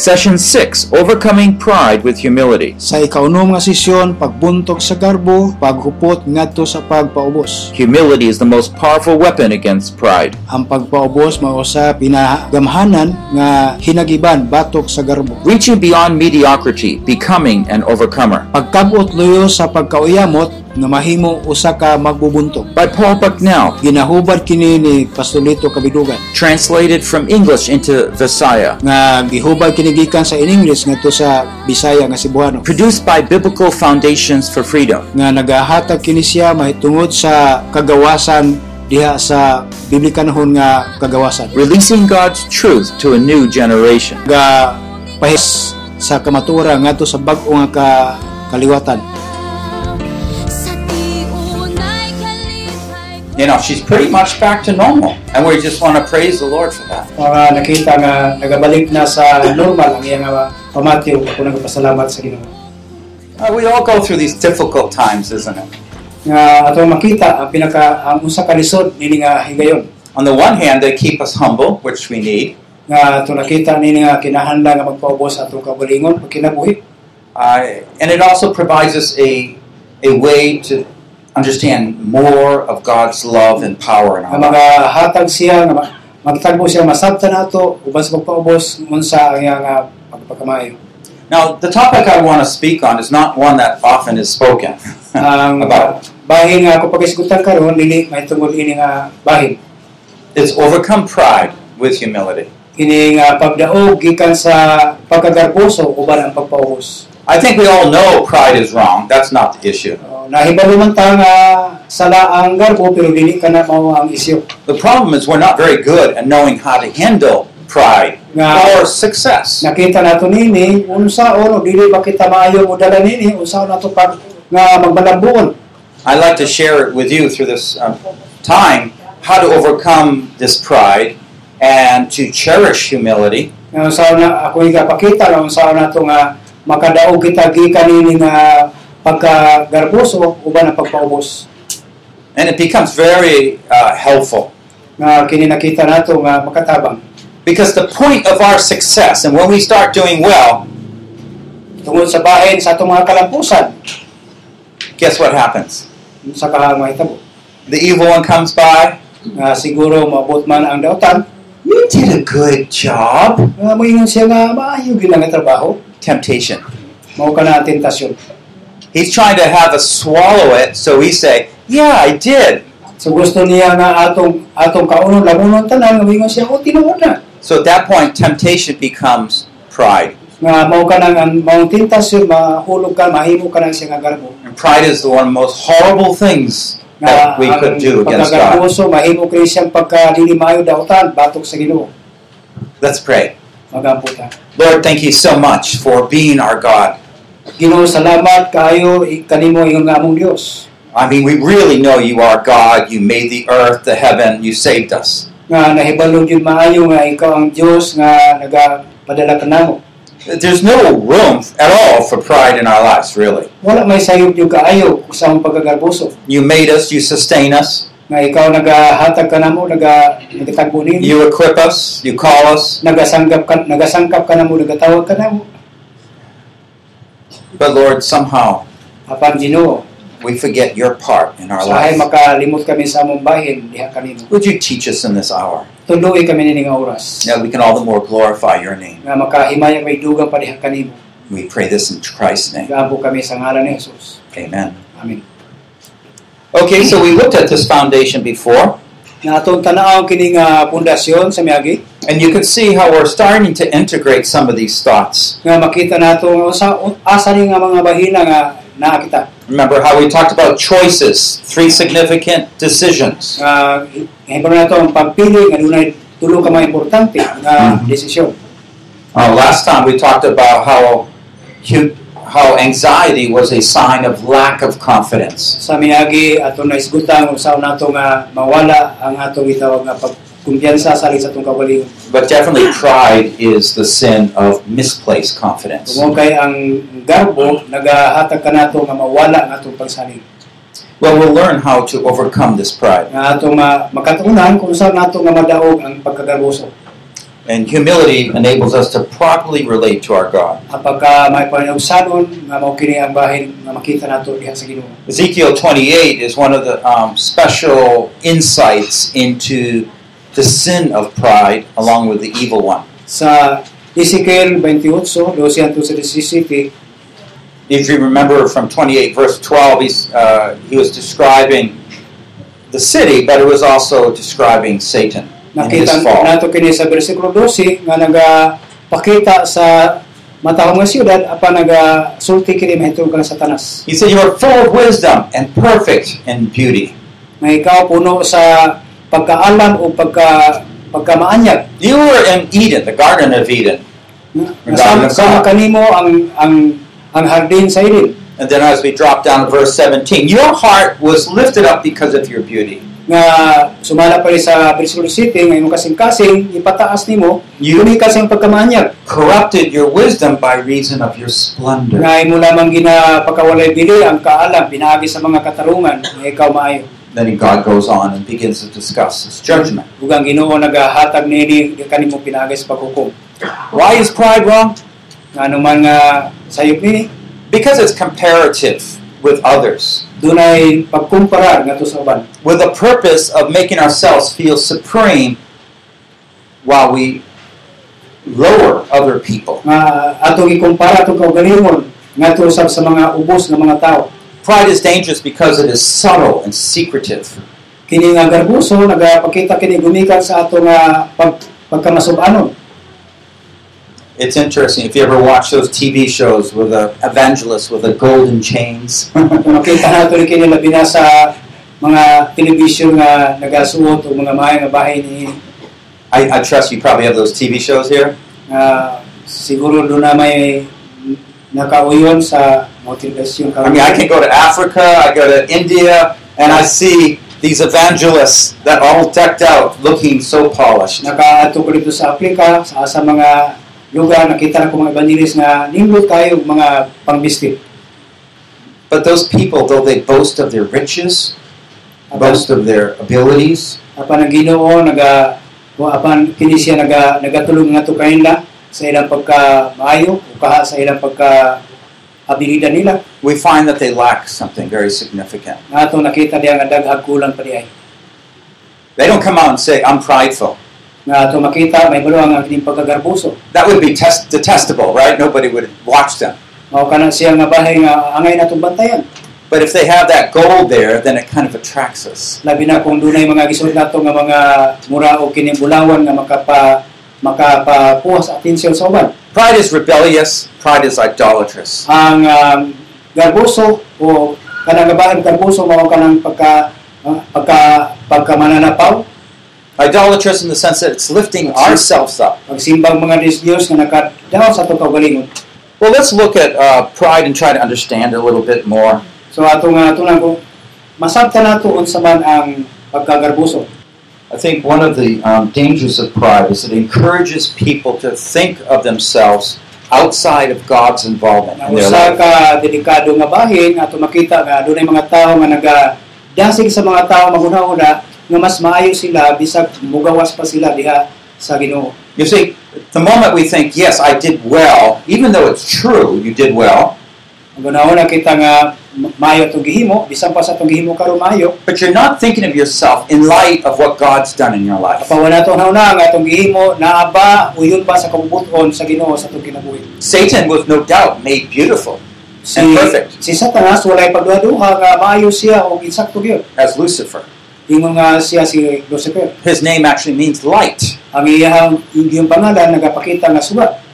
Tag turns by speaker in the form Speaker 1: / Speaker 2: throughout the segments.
Speaker 1: Session 6, Overcoming Pride with Humility.
Speaker 2: Sa ikaunom nga sesyon, pagbuntog sa garbo, paghupot ngadto sa pagpaubos.
Speaker 1: Humility is the most powerful weapon against pride.
Speaker 2: Ang pagpaubos mao sa pinagamhanan nga hinagiban batok sa garbo.
Speaker 1: Reaching beyond mediocrity, becoming an overcomer.
Speaker 2: Pagkagot luyo sa pagkauyamot nga mahimo usa ka magbubuntog.
Speaker 1: By Paul Bucknell,
Speaker 2: Ginahubad kini ni Pastolito Kabidugan
Speaker 1: translated from English into Visaya.
Speaker 2: nga gihubad kini gikan sa in English ngadto sa Bisaya nga Cebuano.
Speaker 1: Produced by Biblical Foundations for Freedom.
Speaker 2: nga nagahatag kini siya mahitungod sa kagawasan diha sa biblikanhon nga kagawasan
Speaker 1: releasing God's truth to a new generation.
Speaker 2: nga pahis sa kamatura ngadto sa bag-o nga ka- kaliwatan
Speaker 3: Sa tiunay kalipay ko
Speaker 1: You know, she's pretty much back to normal, and we just want to praise the Lord for that.
Speaker 2: mga nakita nga nagabalik na sa normal ang iyang pamatiw ako nagpasalamat sa Ginoo
Speaker 1: Uh, we all go through these difficult times, isn't it?
Speaker 2: nga ato makita ang pinaka ang usa ka lisod nini nga higayon
Speaker 1: On the one hand, they keep us humble, which we need.
Speaker 2: nga ato nakita nini nga kinahanglan nga magpaubos sa atong kabalingon pag kinabuhi
Speaker 1: Uh, and it also provides us a, a way to understand more of God's love and power in
Speaker 2: nga
Speaker 1: our life.
Speaker 2: mga hatag siya nga ma- magtagbo siya masabta nato uban sa pagpaubos unsa ang iyang ah, pagpakamayo
Speaker 1: Now, the topic I want to speak on is not one that often is spoken
Speaker 2: ang
Speaker 1: about.
Speaker 2: bahin nga ako pagkisgutan karon dili may tungod ini nga bahin
Speaker 1: It's overcome pride with humility.
Speaker 2: ini nga pagdaog gikan sa pagkagarboso uban ang pagpaubos
Speaker 1: I think we all know pride is wrong. That's not the issue.
Speaker 2: Uh, nahibalo man ta nga sala ang garbo pero dili kana mao ang isyu
Speaker 1: The problem is we're not very good at knowing how to handle pride
Speaker 2: nga
Speaker 1: or success.
Speaker 2: nakita nato nini unsaon o dili ba kita maayo mo dala nini unsaon nato pag nga magbalambuon
Speaker 1: I'd like to share it with you through this um, time how to overcome this pride and to cherish humility
Speaker 2: Ngayon sa na ako ikapakita no sa na to nga makadaog kita gikan nini nga pagkagarboso uban ang pagpaubos.
Speaker 1: and it becomes very uh, helpful
Speaker 2: Nga kini nakita nato nga makatabang.
Speaker 1: because the point of our success and when we start doing well
Speaker 2: Tungod sa bahin sa atong mga kalampusan
Speaker 1: guess what happens
Speaker 2: sa ka mahitabo.
Speaker 1: the evil one comes by
Speaker 2: Nga siguro maabot man ang daotan
Speaker 1: you did a good job
Speaker 2: nga moingon siya nga maayo gyud ang trabaho
Speaker 1: temptation
Speaker 2: mao ka na ang tentasyon.
Speaker 1: he's trying to have us swallow it so we say yeah i did
Speaker 2: So gusto niya nga atong atong kaunon lamunon tanan nga moingon siya o tinuod na.
Speaker 1: So at that point, temptation becomes pride.
Speaker 2: Nga mao ka nang ang mao ang tentasyon mahulog ka mahimo ka nang siya nga garbo.
Speaker 1: And pride is the one of the most horrible things
Speaker 2: na
Speaker 1: that we could do against God.
Speaker 2: pagkagarboso, mahimo kayo siyang pagkalilimayo daotan, batok sa ginoo,
Speaker 1: Let's pray.
Speaker 2: magamputa.
Speaker 1: Lord, thank you so much for being our God.
Speaker 2: Ginoo, salamat kaayo i- kanimo ingon nga among Dios.
Speaker 1: I mean, we really know you are God. You made the earth, the heaven, you saved us.
Speaker 2: Nga nahibalo gyud maayo nga ikaw ang Dios nga nagapadala kanamo.
Speaker 1: There's no room at all for pride in our lives, really.
Speaker 2: Wala may sayop gyud kaayo sa among pagkagarboso.
Speaker 1: You made us, you sustain us,
Speaker 2: Nga ikaw nagahatag kanamo, naga nagatagbo nimo.
Speaker 1: you equip us, you call us.
Speaker 2: Nagasanggap ka, nagasangkap kanamo, nagatawag kanamo.
Speaker 1: But Lord, somehow
Speaker 2: Apan Ginoo,
Speaker 1: we forget your part in our
Speaker 2: sahay
Speaker 1: lives.
Speaker 2: makalimot kami sa among bahin diha kanimo.
Speaker 1: Would you teach us in this hour
Speaker 2: Tuloy kami ning nga oras.
Speaker 1: that we can all the more glorify your name?
Speaker 2: nga makahimayang may dugang pariha kanimo.
Speaker 1: We pray this in Christ's name.
Speaker 2: Gaabo kami sa ngalan ni Jesus.
Speaker 1: Amen.
Speaker 2: Amen.
Speaker 1: Okay, so we looked at this foundation before,
Speaker 2: Na atong tanaw kini nga pundasyon sa miagi
Speaker 1: and you can see how we're starting to integrate some of these thoughts.
Speaker 2: nga makita nato nga usa asa ni nga mga bahina nga naa kita
Speaker 1: Remember how we talked about choices, three significant decisions.
Speaker 2: nga hibaro nato ang pagpili nga dunay tulo ka mga importante nga desisyon.
Speaker 1: Uh, last time we talked about how hu- how anxiety was a sign of lack of confidence.
Speaker 2: Sa miagi atong naisgutan usa nato nga mawala ang atong gitawag nga pagkumpiyansa sa sa atong kabalingon.
Speaker 1: But definitely, pride is the sin of misplaced confidence.
Speaker 2: Tungod kay ang garbo nagahatag kanato nga mawala ang atong pagsalig.
Speaker 1: Well, we'll learn how to overcome this pride.
Speaker 2: nga ato nga makatunan kung saan nato nga madaog ang pagkagarboso.
Speaker 1: And humility enables us to properly relate to our God.
Speaker 2: Ang pagka may panausanon nga mao kini ang bahin nga makita nato diha sa Ginoo.
Speaker 1: Ezekiel 28 is one of the um, special insights into the sin of pride along with the evil one.
Speaker 2: Sa Ezekiel 28, 12 hangtod sa 17,
Speaker 1: If you remember from 28, verse 12, he's, uh, he was describing the city, but it was also describing Satan in his
Speaker 2: nakita
Speaker 1: fall.
Speaker 2: nato kini sa bersikulo 12 nga nagapakita sa matahong nga siyudad apan nagasulti kini mahitungod kang Satanas.
Speaker 1: He said, You are full of wisdom and perfect in beauty.
Speaker 2: Nga ikaw puno sa pagkaalam o pagka pagkamaanyag
Speaker 1: You were in Eden, the Garden of Eden.
Speaker 2: Nasama sama kanimo ang ang ang hardin sa Eden
Speaker 1: And then as we drop down to verse 17, your heart was lifted up because of your beauty.
Speaker 2: nga sumala pa rin sa Brisbane City nga imong kasing-kasing ipataas nimo
Speaker 1: You
Speaker 2: yun kasi ang pagkamaanyag
Speaker 1: corrupted your wisdom by reason of your splendor.
Speaker 2: nga imo lamang ginapakawalay bili ang kaalam pinaagi sa mga katarungan nga ikaw maayo
Speaker 1: Then God goes on and begins to discuss his judgment.
Speaker 2: ug ang Ginoo nagahatag niini di kanimo pinaagi sa paghukom
Speaker 1: Why is pride wrong?
Speaker 2: nga anuman nga sayop nini
Speaker 1: Because it's comparative with others,
Speaker 2: dunay pagkumpara nga sa uban
Speaker 1: with the purpose of making ourselves feel supreme while we lower other people.
Speaker 2: nga atong ikumpara atong kaugalingon nga usab sa mga ubos nga mga tao
Speaker 1: Pride is dangerous because it is subtle and secretive.
Speaker 2: kini nga garbuso nagapakita kini gumikan sa ato nga pag, pagkamasub-anon
Speaker 1: It's interesting if you ever watch those TV shows with the evangelists with the golden chains.
Speaker 2: Kung makita nato rin kini labi na sa mga television nga nagasuot o mga mahay nga bahay ni
Speaker 1: I, I trust you probably have those TV shows here.
Speaker 2: nga siguro doon na may nakauyon sa motivasyon
Speaker 1: I mean, I can go to Africa, I go to India, and I see these evangelists that are all decked out, looking so polished.
Speaker 2: Nakaato ko dito sa Afrika, sa asa mga lugar, nakita na ko mga evangelist nga ninglot kayo og mga pangbistik.
Speaker 1: But those people, though they boast of their riches,
Speaker 2: Apan,
Speaker 1: boast of their abilities,
Speaker 2: apan ang ginoo, naga, o apan kini siya naga, nagatulong nga to kanila sa ilang pagka maayo, o kaha sa ilang pagka abilidad nila.
Speaker 1: we find that they lack something very significant.
Speaker 2: nga ato nakita diya nga daghang kulang pa diay
Speaker 1: They don't come out and say, I'm prideful.
Speaker 2: nga ato makita may balo ang kining pagkagarbuso
Speaker 1: That would be test- detestable, right? Nobody would watch them.
Speaker 2: mao kana siya nga bahay nga angay natong bantayan
Speaker 1: But if they have that gold there, then it kind of attracts us.
Speaker 2: labi na kung dunay mga gisod nato nga mga mura o kining bulawan nga makapa makapapuhas atensyon sa uban
Speaker 1: Pride is rebellious, pride is idolatrous.
Speaker 2: ang um, garbuso o kanang bahay garbuso mao kanang pagka ah, pagka pagka mananapaw
Speaker 1: Idolatrous in the sense that it's lifting ourselves up.
Speaker 2: pagsimbang mga Diyos nga nakadaw sa atong kaugalingon
Speaker 1: Well, let's look at uh, pride and try to understand a little bit more.
Speaker 2: so ato nga ato lang ko masabta nato unsa man ang pagkagarbuso
Speaker 1: I think one of the um, dangers of pride is it encourages people to think of themselves outside of God's involvement
Speaker 2: Ang
Speaker 1: in their
Speaker 2: usa
Speaker 1: life.
Speaker 2: ka delikado nga bahin ato makita nga dunay mga tao nga nagadasig sa mga tao maghuna-una nga mas maayo sila bisag mugawas pa sila diha sa Ginoo.
Speaker 1: You see, the moment we think, yes, I did well, even though it's true, you did well,
Speaker 2: Ang una kita nga ma- maayo tong gihimo bisan pa sa tong gihimo karon maayo
Speaker 1: but you're not thinking of yourself in light of what God's done in your life.
Speaker 2: apawa nato una nga atong gihimo naa ba uyon ba sa kabubuton sa Ginoo sa atong kinabuhi.
Speaker 1: Satan was no doubt made beautiful
Speaker 2: Si
Speaker 1: And perfect.
Speaker 2: si Satanas walay pagduha-duha nga maayo siya og insakto gyud.
Speaker 1: as Lucifer.
Speaker 2: Ingon nga siya si Lucifer.
Speaker 1: His name actually means light.
Speaker 2: Ang iyang iyang pangalan nagapakita nga suba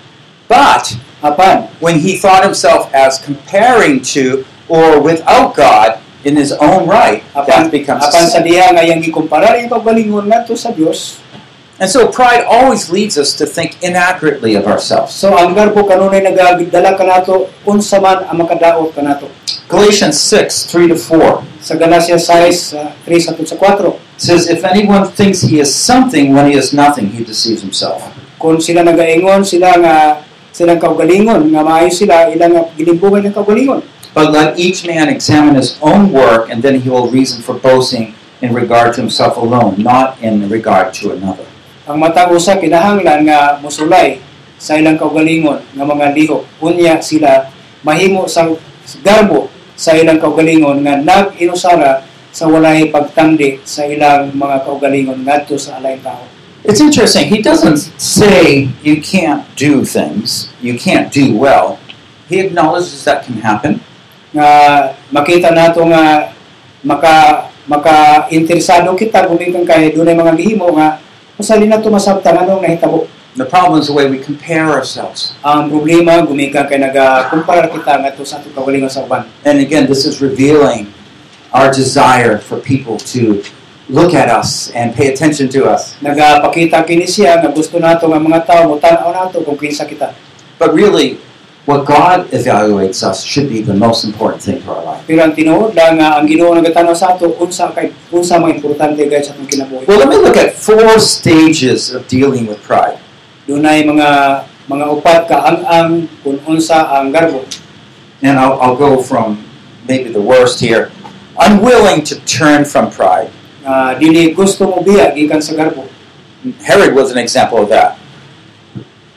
Speaker 1: But
Speaker 2: apan
Speaker 1: when he thought himself as comparing to or without God in his own right, that
Speaker 2: Apan,
Speaker 1: becomes
Speaker 2: apan sa
Speaker 1: sin.
Speaker 2: diha nga yang gikumparar yung pagbalingon nato sa Dios.
Speaker 1: And so pride always leads us to think inaccurately of ourselves.
Speaker 2: So ang garbo kanunay nagagdala kanato unsa man ang makadaot kanato.
Speaker 1: Galatians 6, 3 to 4
Speaker 2: Sa Galatia 6 uh, 3 sa sa 4,
Speaker 1: says, If anyone thinks he is something when he is nothing, he deceives himself.
Speaker 2: kung sila nagaingon sila nga silang kaugalingon nga maayo sila ilang nga gilimbungan ng kaugalingon.
Speaker 1: But let each man examine his own work, and then he will reason for boasting in regard to himself alone, not in regard to another.
Speaker 2: Ang matang usa kinahanglan nga mosulay sa ilang kaugalingon nga mga lihok. Unya sila mahimo sa garbo sa ilang kaugalingon nga nag-inusara sa walay pagtandi sa ilang mga kaugalingon ngadto sa alay tao.
Speaker 1: It's interesting. He doesn't say you can't do things, you can't do well. He acknowledges that can happen.
Speaker 2: nga makita nato nga maka maka interesado kita gumikan kay dunay mga gihimo nga usa na to masabtan ano anong nahitabo
Speaker 1: The problem is the way we compare ourselves.
Speaker 2: ang problema gumikan kay naga-compare kita nga to sa atong kaugalingon sa uban
Speaker 1: And again, this is revealing our desire for people to look at us and pay attention to us.
Speaker 2: nagapakita kini siya nga gusto nato nga mga tao mo tan-aw nato kung kinsa kita
Speaker 1: But really, what God evaluates us should be the most important thing to our life.
Speaker 2: pero ang tinuod lang nga ang Ginoo nagatanaw sa ato unsa kay unsa mga importante gayud sa atong kinabuhi
Speaker 1: Well, let me look at four stages of dealing with pride.
Speaker 2: dunay mga mga upat ka ang kung unsa ang garbo
Speaker 1: And I'll, I'll go from maybe the worst here. Unwilling to turn from pride.
Speaker 2: nga dili gusto mo biya gikan sa garbo
Speaker 1: Herod was an example of that.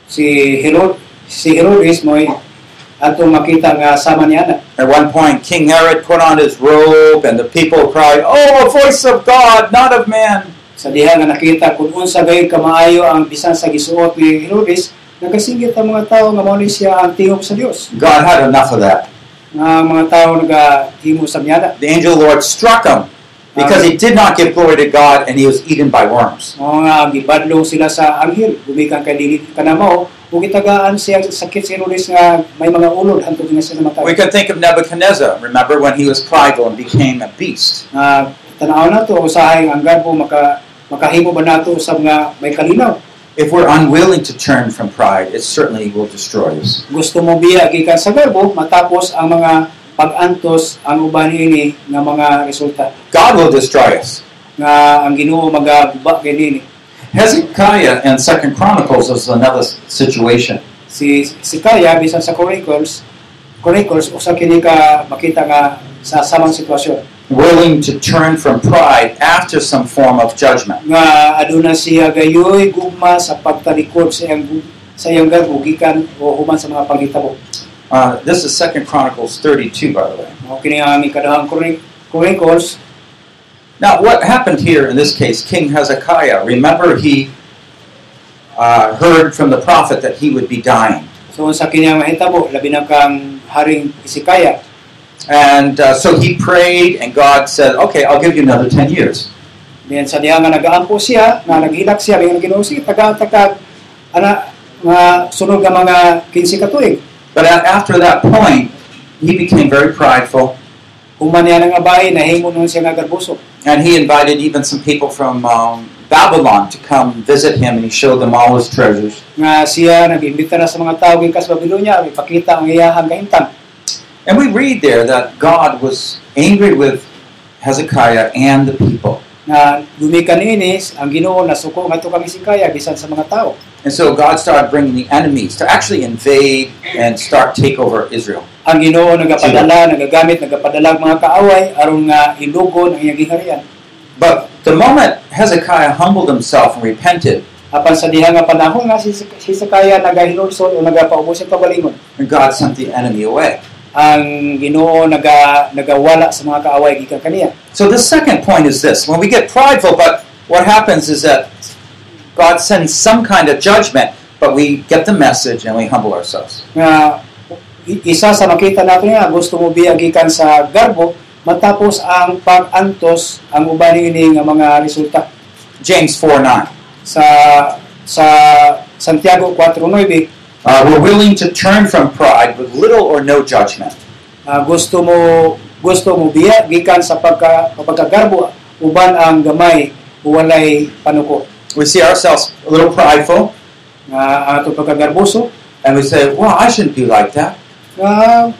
Speaker 2: si Herod si Herodes mo ato makita nga sama niya na
Speaker 1: At one point, King Herod put on his robe, and the people cried, Oh, a voice of God, not of man.
Speaker 2: sa diha nga nakita kung unsa gayud kamaayo ang bisan sa gisuot ni Herodes nagasingit ang mga tao nga mao ni siya ang tingog sa Dios
Speaker 1: God had enough of that.
Speaker 2: nga ang mga tao nagahimo sa miyada
Speaker 1: The angel of the Lord struck him because he did not give glory to God, and he was eaten by worms.
Speaker 2: mao nga ang gibadlong sila sa anghel gumikan kay dili kanamo ug itagaan siya sa sakit si Herodes nga may mga ulod hantod nga siya namatay
Speaker 1: We can think of Nebuchadnezzar, remember, when he was prideful and became a beast.
Speaker 2: nga tanaw nato usahay ang garbo maka makahimo ba nato usab nga may kalinaw
Speaker 1: If we're unwilling to turn from pride, it certainly will destroy us.
Speaker 2: gusto mo biya gikan sa garbo matapos ang mga pag-antos ang uban ini nga mga resulta
Speaker 1: God will destroy us.
Speaker 2: nga ang Ginoo magaguba ganini
Speaker 1: Hezekiah and Second Chronicles is another s- situation.
Speaker 2: si si Kaya bisan sa Chronicles Chronicles usa kini ka makita nga sa samang sitwasyon
Speaker 1: Willing to turn from pride after some form of judgment.
Speaker 2: nga aduna siya gayoy gugma sa pagtalikod sa iyang gu- sa iyang garbo gikan o human sa mga panghitabo
Speaker 1: Uh, this is Second Chronicles 32, by the way.
Speaker 2: mao kini ang aming kadahang Chron- Chronicles
Speaker 1: Now, what happened here in this case, King Hezekiah? Remember, he uh, heard from the prophet that he would be dying,
Speaker 2: so unsa kini ang mahitabo labi na kang haring si Kaya
Speaker 1: and uh, so he prayed, and God said, "Okay, I'll give you another ten years."
Speaker 2: Then sa diha nga nagaampo siya, nga naghilak siya, nga Ginoo sige taga-tagag ana nga sunod nga mga 15 ka tuig.
Speaker 1: But a- after that point, he became very prideful,
Speaker 2: Human niya nga bahay nahimo nun siya nga garbuso.
Speaker 1: and he invited even some people from um, Babylon to come visit him, and he showed them all his treasures.
Speaker 2: Nga siya nag-imbita na sa mga tao gikas Babilonia, ipakita ang iyahang kahintang.
Speaker 1: And we read there that God was angry with Hezekiah and the people.
Speaker 2: Nga gumikan inis ang Ginoo nasuko nga to kami si Kaya bisan sa mga tao.
Speaker 1: And so God started bringing the enemies to actually invade and start take over Israel.
Speaker 2: Ang Ginoo nagapadala, nagagamit, nagapadala ang mga kaaway aron nga ilugon ang iyang giharian.
Speaker 1: But the moment Hezekiah humbled himself and repented,
Speaker 2: Apan sa diha nga panahon nga si, si Kaya nagahinulsol o nagapaubo sa pagalingon.
Speaker 1: and God sent the enemy away.
Speaker 2: ang Ginoo naga nagawala sa mga kaaway gikan kaniya.
Speaker 1: So the second point is this: when we get prideful, but what happens is that God sends some kind of judgment, but we get the message and we humble ourselves.
Speaker 2: Nga i- isa sa makita natin nga gusto mo biya gikan sa garbo matapos ang pag-antos ang uban ini nga mga resulta
Speaker 1: James four nine.
Speaker 2: sa sa Santiago 4:9
Speaker 1: Uh, we're willing to turn from pride with little or no judgment.
Speaker 2: ah, gusto mo gusto mo biya gikan sa pagka pagkagarbo uban ang gamay walay panuko
Speaker 1: We see ourselves a little prideful,
Speaker 2: nga ato pagkagarboso
Speaker 1: and we say, "Well, I shouldn't be like that."
Speaker 2: nga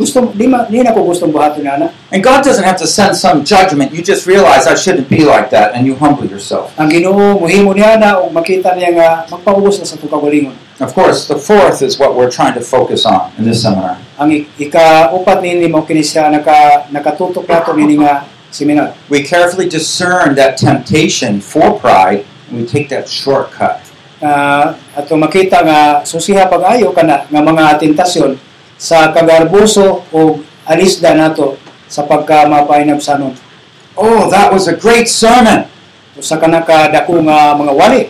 Speaker 2: gusto di ma di na ko gustong buhaton ana
Speaker 1: And God doesn't have to send some judgment. You just realize I shouldn't be like that, and you humble yourself.
Speaker 2: ang Ginoo muhimo niya na og makita niya nga magpaubos na sa itong kagalingon.
Speaker 1: Of course, the fourth is what we're trying to focus on in this seminar.
Speaker 2: Ang ik- ika-upat nini mo kini siya naka nakatutok nato nini nga seminar.
Speaker 1: We carefully discern that temptation for pride we take that shortcut.
Speaker 2: Ah, ato makita nga susiha pag-ayo kana nga mga tentasyon sa kagarbuso o alisda nato sa pagka mapainabsanon
Speaker 1: Oh, that was a great sermon.
Speaker 2: usa ka nakadako nga mga wali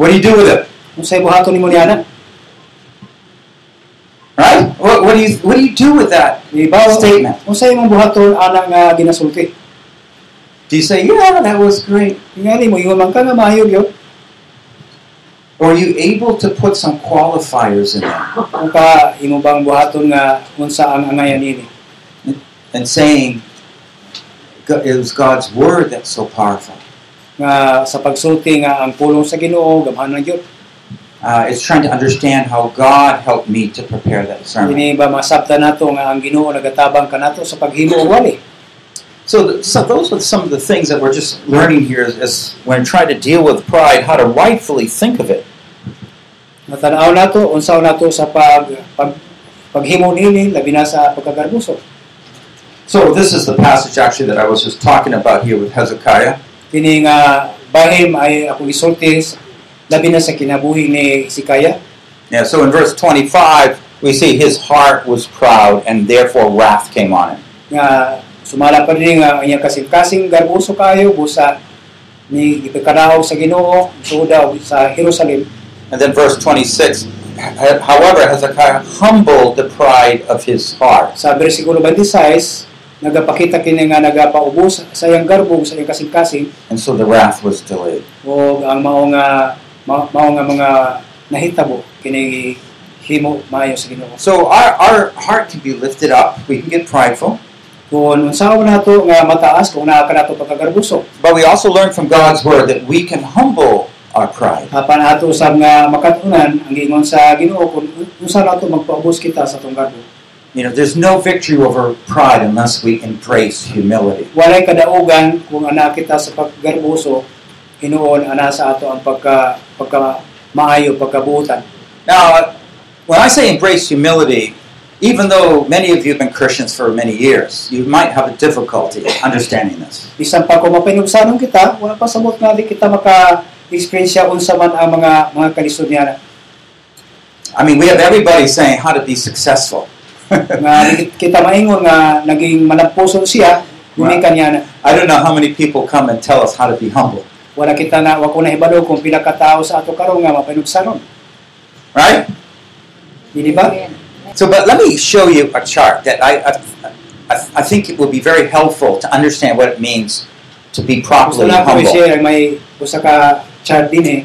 Speaker 1: What do you do with it?
Speaker 2: unsay buhaton nimo niana
Speaker 1: Right? What, what do you What do you do with that?
Speaker 2: ibaw
Speaker 1: Statement.
Speaker 2: unsay imong buhaton ana nga ginasulti
Speaker 1: Do you say, "Yeah, that was great"?
Speaker 2: tingali mo ingon man ka nga maayo gyud
Speaker 1: Or are you able to put some qualifiers in there
Speaker 2: ang ka imo bang buhaton nga unsa ang angayan nini
Speaker 1: and saying, "Go- "It was God's word that's so powerful."
Speaker 2: nga sa pagsulti nga ang pulong sa Ginoo gamhanan gyud
Speaker 1: Uh, it's trying to understand how God helped me to prepare that sermon.
Speaker 2: Dini ba masabta nato nga ang Ginoo nagatabang kanato sa paghimo og wali
Speaker 1: So, th- so those are some of the things that we're just learning here is, is when trying to deal with pride, how to rightfully think of it.
Speaker 2: Natanaw nato unsaw nato sa pag, pag paghimo nini labi na sa pagkagarbuso.
Speaker 1: So this is the passage actually that I was just talking about here with Hezekiah.
Speaker 2: Kini nga bahim ay ako gisulti sa- labi na sa kinabuhi ni Sikaya.
Speaker 1: Yeah, so in verse 25, we see his heart was proud and therefore wrath came on him.
Speaker 2: nga sumala pa rin nga ang iyang kasing-kasing garbuso kayo busa ni ipikadaog sa Ginoo suda sa Jerusalem.
Speaker 1: And then verse 26, however, Hezekiah humbled the pride of his heart.
Speaker 2: Sa bersikulo 26 nagapakita kini nga nagapaubos sa iyang garbo sa iyang kasing-kasing
Speaker 1: And so the wrath was delayed.
Speaker 2: o ang mao nga ma- mao nga mga nahitabo kini himo maayo sa Ginoo.
Speaker 1: So our, our heart can be lifted up. We can get prideful.
Speaker 2: Kung unsaon nato nga mataas kung naa ka nato pagkagarbuso.
Speaker 1: But we also learn from God's word that we can humble our pride.
Speaker 2: Apan ato usab nga makatunan ang giingon sa Ginoo kung unsa nato magpaubos kita sa atong garbo.
Speaker 1: You know, there's no victory over pride unless we embrace humility.
Speaker 2: Walay kadaogan kung ana kita sa paggarbuso hinuon ana sa ato ang pagka pagka maayo pagkabuutan.
Speaker 1: Now, when I say embrace humility, even though many of you have been Christians for many years, you might have a difficulty understanding this.
Speaker 2: Bisan pa kung mapinugsanon kita, wala pa sabot nga di kita maka experience unsa man ang mga mga kalisodyanan.
Speaker 1: I mean, we have everybody saying how to be successful. I
Speaker 2: nga kita maingon nga naging malampuson siya gumikan niya na
Speaker 1: don't know how many people come and tell us how to be humble,
Speaker 2: wala kita na wa ko na hibalo kung pila ka tao sa ato karon nga mapanugsaron
Speaker 1: right?
Speaker 2: di ba
Speaker 1: So, but let me show you a chart that I, I, I, I think it will be very helpful to understand what it means to be
Speaker 2: gusto
Speaker 1: properly
Speaker 2: na ko
Speaker 1: humble.
Speaker 2: i-share may usa ka chart din eh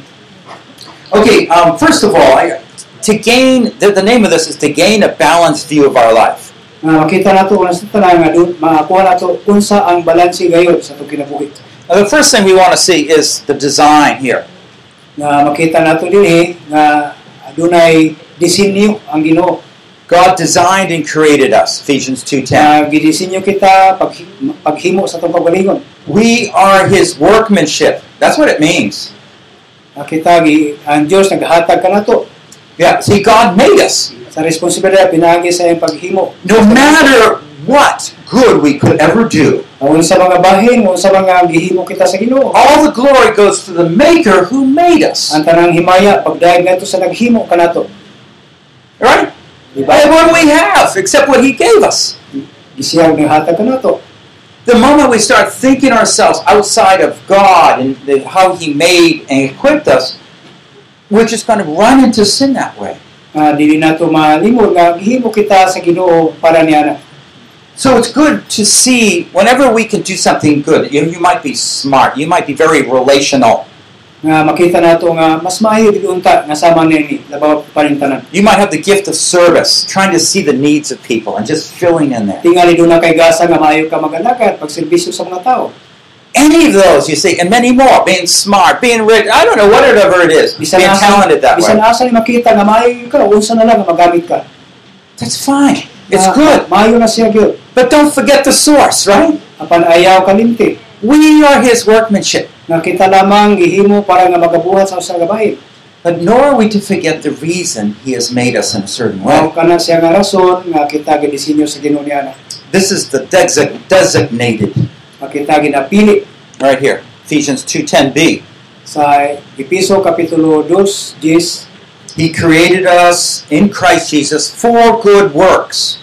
Speaker 1: Okay, um, first of all, I, to gain, the, the name of this is to gain a balanced view of our life.
Speaker 2: nga makita nato una sa tanan nga dun makakuha nato unsa ang balanse gayud sa atong kinabuhi
Speaker 1: Now, the first thing we want to see is the design here.
Speaker 2: nga makita nato dinhi eh, nga adunay disenyo ang Ginoo
Speaker 1: God designed and created us, Ephesians 2.10.
Speaker 2: nga gidisenyo kita pag paghimo sa atong pagalingon
Speaker 1: We are his workmanship. That's what it means.
Speaker 2: nakita gi ang Dios naghatag kanato
Speaker 1: Yeah, see, God made us.
Speaker 2: sa responsibilidad pinaagi sa iyang paghimo
Speaker 1: No matter what good we could ever do,
Speaker 2: Ngunit sa mga bahin, ngunit sa mga gihimo kita sa Ginoo.
Speaker 1: all the glory goes to the maker who made us.
Speaker 2: Ang tanang himaya pagdayag ngadto sa naghimo Diba? kanato.
Speaker 1: Right?
Speaker 2: Di
Speaker 1: And
Speaker 2: ba?
Speaker 1: what do we have except what he gave us?
Speaker 2: Gisiyag ng hatag kanato.
Speaker 1: The moment we start thinking ourselves outside of God and the, how he made and equipped us, we're just going to run into sin that way.
Speaker 2: Nga dili nato malimod nga gihimo kita sa Ginoo para niya na.
Speaker 1: So it's good to see whenever we can do something good. You, you might be smart. You might be very relational.
Speaker 2: Nga makita nato nga mas maayo dili unta nga sama ni labaw parintanan.
Speaker 1: You might have the gift of service, trying to see the needs of people and just filling in there.
Speaker 2: Tingali do na kay gasa nga maayo ka magalakad pagserbisyo sa mga tao.
Speaker 1: Any of those, you see, and many more. Being smart, being rich, I don't know, whatever it is. Being
Speaker 2: Bisan asa-
Speaker 1: talented that
Speaker 2: Bisan
Speaker 1: way.
Speaker 2: asa ni makita nga maayo ka unsa na lang nga magamit ka.
Speaker 1: That's fine. It's
Speaker 2: Nga,
Speaker 1: good.
Speaker 2: Maayo na siya gyud.
Speaker 1: But don't forget the source, right?
Speaker 2: Apan ayaw kalimti.
Speaker 1: We are his workmanship.
Speaker 2: Nga Nah, kita lamang gihimo para nga magabuhat sa usa ka bahin.
Speaker 1: But nor are we to forget the reason he has made us in a certain way.
Speaker 2: Mao kana siya nga rason nga kita gidisenyo sa Ginoo niya na.
Speaker 1: This is the desi- designated
Speaker 2: Nga kita ginapili
Speaker 1: right here. Ephesians 2.10b.
Speaker 2: sa Episo Kapitulo 2, Gs,
Speaker 1: He created us in Christ Jesus for good works,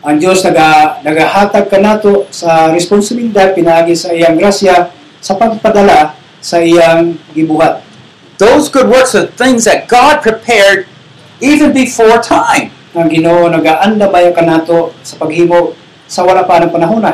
Speaker 2: ang Diyos naga, nagahatag kanato sa responsibilidad pinaagi sa iyang grasya sa pagpadala sa iyang gibuhat.
Speaker 1: those good works are things that God prepared even before time.
Speaker 2: Ang Ginoo nagaandamay kanato sa paghimo sa wala pa ng panahon.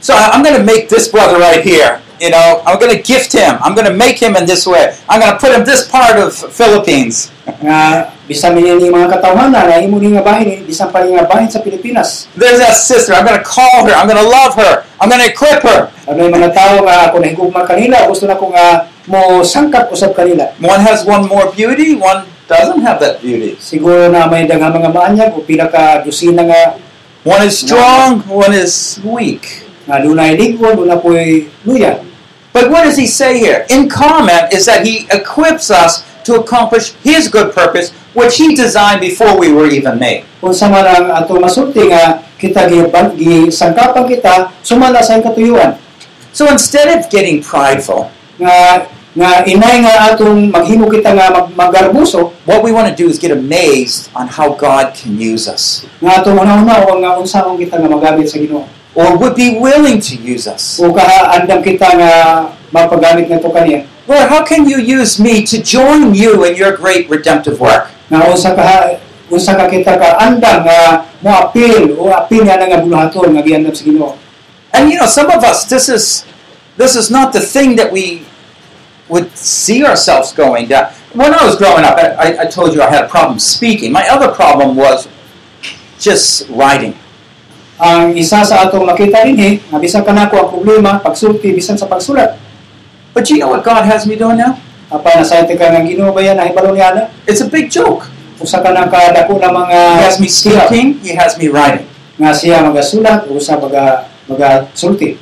Speaker 1: So I- I'm going to make this brother right here. You know, I'm going to gift him. I'm going to make him in this way. I'm going to put him this part of Philippines.
Speaker 2: nga bisan niya ni mga katawhana na imo ni nga bahin eh. bisan pa ni nga bahin sa Pilipinas
Speaker 1: There's that sister. I'm going to call her. I'm going to love her. I'm going to equip her.
Speaker 2: ano yung mga tao nga ako nahigugma kanila gusto na ko nga mo sangkap usab kanila
Speaker 1: One has one more beauty. One doesn't have that beauty.
Speaker 2: siguro na may daghang mga maanyag o pila ka dosina nga
Speaker 1: One is strong. One is weak.
Speaker 2: nga dunay ligon una po'y luya
Speaker 1: But what does he say here? In comment is that he equips us to accomplish his good purpose, which he designed before we were even made.
Speaker 2: unsa man ang ato masulti nga kita gibag gisangkapan kita sumala sa iyang katuyuan
Speaker 1: So instead of getting prideful,
Speaker 2: nga nga inay nga atong maghimo kita nga mag, magarbuso
Speaker 1: what we want to do is get amazed on how God can use us,
Speaker 2: nga atong una-una o nga unsahon kita nga magamit sa Ginoo
Speaker 1: or would be willing to use us.
Speaker 2: o kaandam kita nga mapagamit na to kaniya
Speaker 1: Lord, how can you use me to join you in your great redemptive work?
Speaker 2: nga unsa ka unsa ka kita ka andam nga moapil o apil nga nga buluhaton nga giandam sa Ginoo
Speaker 1: And you know, some of us, this is this is not the thing that we would see ourselves going down. When I was growing up, I, I- I told you I had a problem speaking. My other problem was just writing.
Speaker 2: ang isa sa atong makita dinhi nga bisan kanako ang problema pagsulti bisan sa pagsulat
Speaker 1: But you know what God has me doing now?
Speaker 2: apan nasayte ka nga Ginoo ba yan nahibalo niya na
Speaker 1: It's a big joke.
Speaker 2: usa ka nang kadako na mga
Speaker 1: He has me speaking, He has me writing.
Speaker 2: nga siya magasulat o usa maga magasulti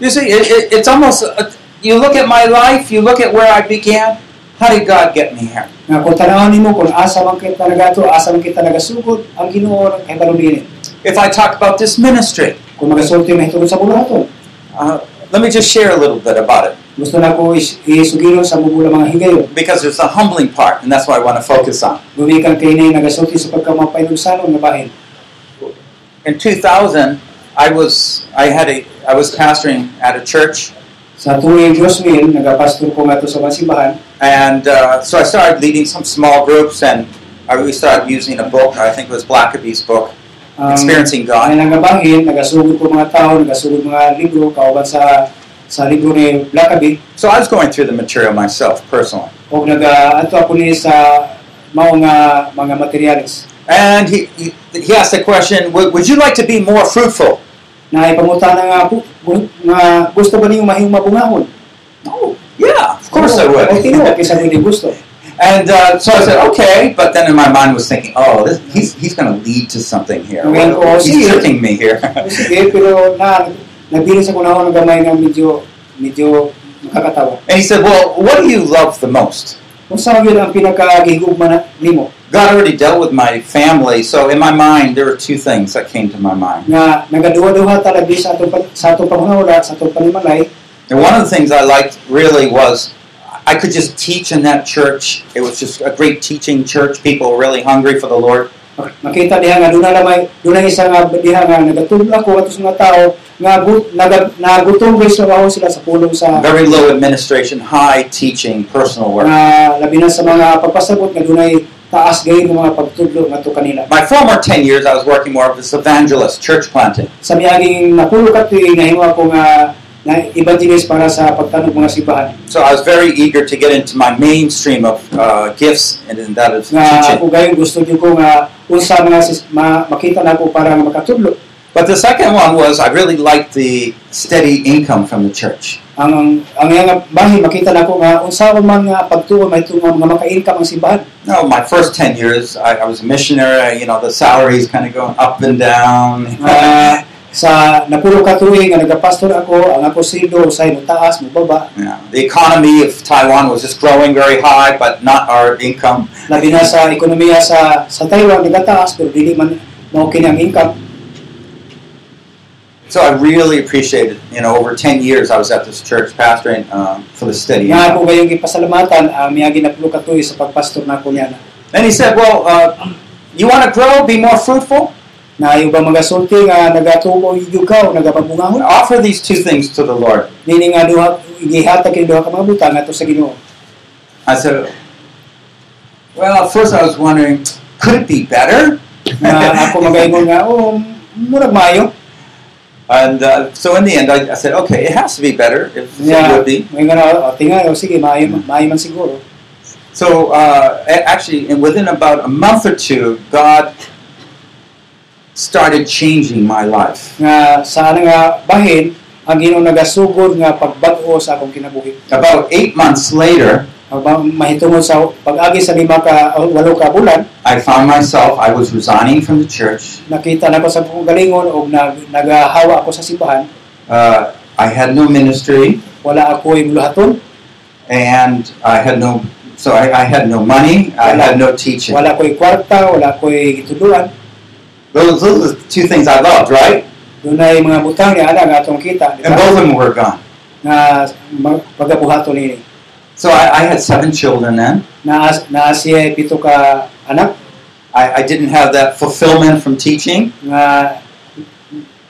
Speaker 1: You see, it, it, it's almost, uh you look at my life, you look at where I began, how did God get me here?
Speaker 2: nga kung tanawon nimo kung asa man kita nagato asa man kita nagasugod ang Ginoo nahibalo dinhi
Speaker 1: If I talk about this ministry,
Speaker 2: kung magasulti mahitungod sa buluhaton
Speaker 1: uh, let me just share a little bit about it
Speaker 2: Gusto na ko is- isugiron sa mabula mga higayon.
Speaker 1: because there's the humbling part, and that's what I want to focus on.
Speaker 2: Gumikan kay na nagasulti sa pagkamapainugsanon nga bahin.
Speaker 1: in 2000 i was i had a i was pastoring at a church
Speaker 2: Sa tuwing Josmin, nagapastor ko nga to sa masimbahan,
Speaker 1: and uh, so i started leading some small groups and I, we started using a book i think it was blackaby's book
Speaker 2: ang
Speaker 1: experiencing god
Speaker 2: ang nangabahin, nagasugod ko mga tao, nagasugod mga libro, kauban sa sa libro ni Blackaby,
Speaker 1: so i was going through the material myself personally
Speaker 2: o naga ato ako ni sa mao nga mga materialis.
Speaker 1: and he, he, he asked the question would, would you like to be more fruitful
Speaker 2: Na ipamutana nga po, gu- nga gusto ba niyo mahing mabungahon?
Speaker 1: oh yeah of course i
Speaker 2: O tinuod,
Speaker 1: would
Speaker 2: kaysa hindi gusto.
Speaker 1: and uh, so i said okay but then in my mind was thinking oh this, he's, he's going to lead to something here
Speaker 2: Well,
Speaker 1: he's
Speaker 2: see-
Speaker 1: tricking me here
Speaker 2: Sige, pero na, nabilis ako na ako ng gamay nga medyo, medyo nakakatawa.
Speaker 1: and he said well what do you love the most
Speaker 2: Kung saan yun ang pinakagigugma na nimo,
Speaker 1: God already dealt with my family, so in my mind, there were two things that came to my mind.
Speaker 2: na nagaduha-duha talaga sa atong, pan- sa atong panghula, sa atong panimalay,
Speaker 1: And one of the things I liked really was I could just teach in that church. It was just a great teaching church. People were really hungry for the Lord.
Speaker 2: mak- makita diha nga doon na may, doon na isa nga diha nga nagatulog ako ato sa mga tao, nga gut, naga, nagutom guys na ako sila sa pulong sa
Speaker 1: Very low administration, high teaching, personal work.
Speaker 2: nga labi na sa mga pagpasabot nga doon ay taas gayon ng mga pagtudlo nga to kanila.
Speaker 1: My former 10 years, I was working more of this evangelist, church planting.
Speaker 2: Sa miyaging napulog ka tuloy, nahimo ako nga na evangelist para sa pagtanog mga simbahan.
Speaker 1: So I was very eager to get into my mainstream of uh, gifts, and then that is
Speaker 2: nga
Speaker 1: teaching.
Speaker 2: ako gayon gusto niyo ko nga unsa mga sis, ma, makita na ko para nga makatudlo
Speaker 1: But the second one was I really liked the steady income from the church.
Speaker 2: ang ang, ang iyang bahin makita na ko nga unsa ko man nga pagtuo may tunga nga maka-income ang simbahan
Speaker 1: No, my first 10 years, I, I was a missionary. You know, the salaries kind of going up and down.
Speaker 2: Ah. sa napulo ka tuig nga nagapastor ako ang ako sildo usay mo taas mo baba
Speaker 1: Yeah. The economy of Taiwan was just growing very high, but not our income.
Speaker 2: labi na sa ekonomiya sa sa Taiwan nagataas pero dili man mao kini ang income
Speaker 1: So I really appreciated, you know, over 10 years I was at this church pastoring um, for the city.
Speaker 2: Nga ako kayong ipasalamatan, uh, may ginapulo katuyo sa pagpastor na ako niya na.
Speaker 1: And he said, well, uh, you want to grow, be more fruitful?
Speaker 2: Na yung ba mga sulti nga nagatubo yung yugaw, nagapabungahon.
Speaker 1: Offer these two things to the Lord.
Speaker 2: Nini nga duha, igihatag yung duha ka mga butang ato sa ginoo.
Speaker 1: I said, well, at first I was wondering, could it be better?
Speaker 2: Na ako magayon nga, oh, murag mayo.
Speaker 1: And uh, so in the end, I, I said, okay, it has to be better. If
Speaker 2: Yeah.
Speaker 1: it would be.
Speaker 2: May nga na, oh, tinga, oh, sige, maayo, man- maayo man siguro.
Speaker 1: So uh, a- actually, and within about a month or two, God started changing my life.
Speaker 2: Nga sa ano nga bahin, ang ginoo nagasugod nga pagbag-o sa akong kinabuhi.
Speaker 1: About eight months later,
Speaker 2: Habang mahitungod sa pag-agi sa lima ka, o walo ka bulan,
Speaker 1: I found myself, I was resigning from the church.
Speaker 2: nakita na ko sa akong galingon o nag, nagahawa ako sa simbahan,
Speaker 1: Uh, I had no ministry,
Speaker 2: wala ako yung luhaton,
Speaker 1: and I had no, so I, I had no money, I had no teaching.
Speaker 2: wala ko yung kwarta, wala ko yung gituduan.
Speaker 1: Those, those are the two things I loved, right?
Speaker 2: Doon ay mga butang ni ana nga atong kita, di
Speaker 1: And
Speaker 2: ba?
Speaker 1: both of them were gone.
Speaker 2: Nga mag- pagabuhaton ni
Speaker 1: So I, I had seven children then.
Speaker 2: na na siya pito ka anak
Speaker 1: I, I didn't have that fulfillment from teaching.
Speaker 2: nga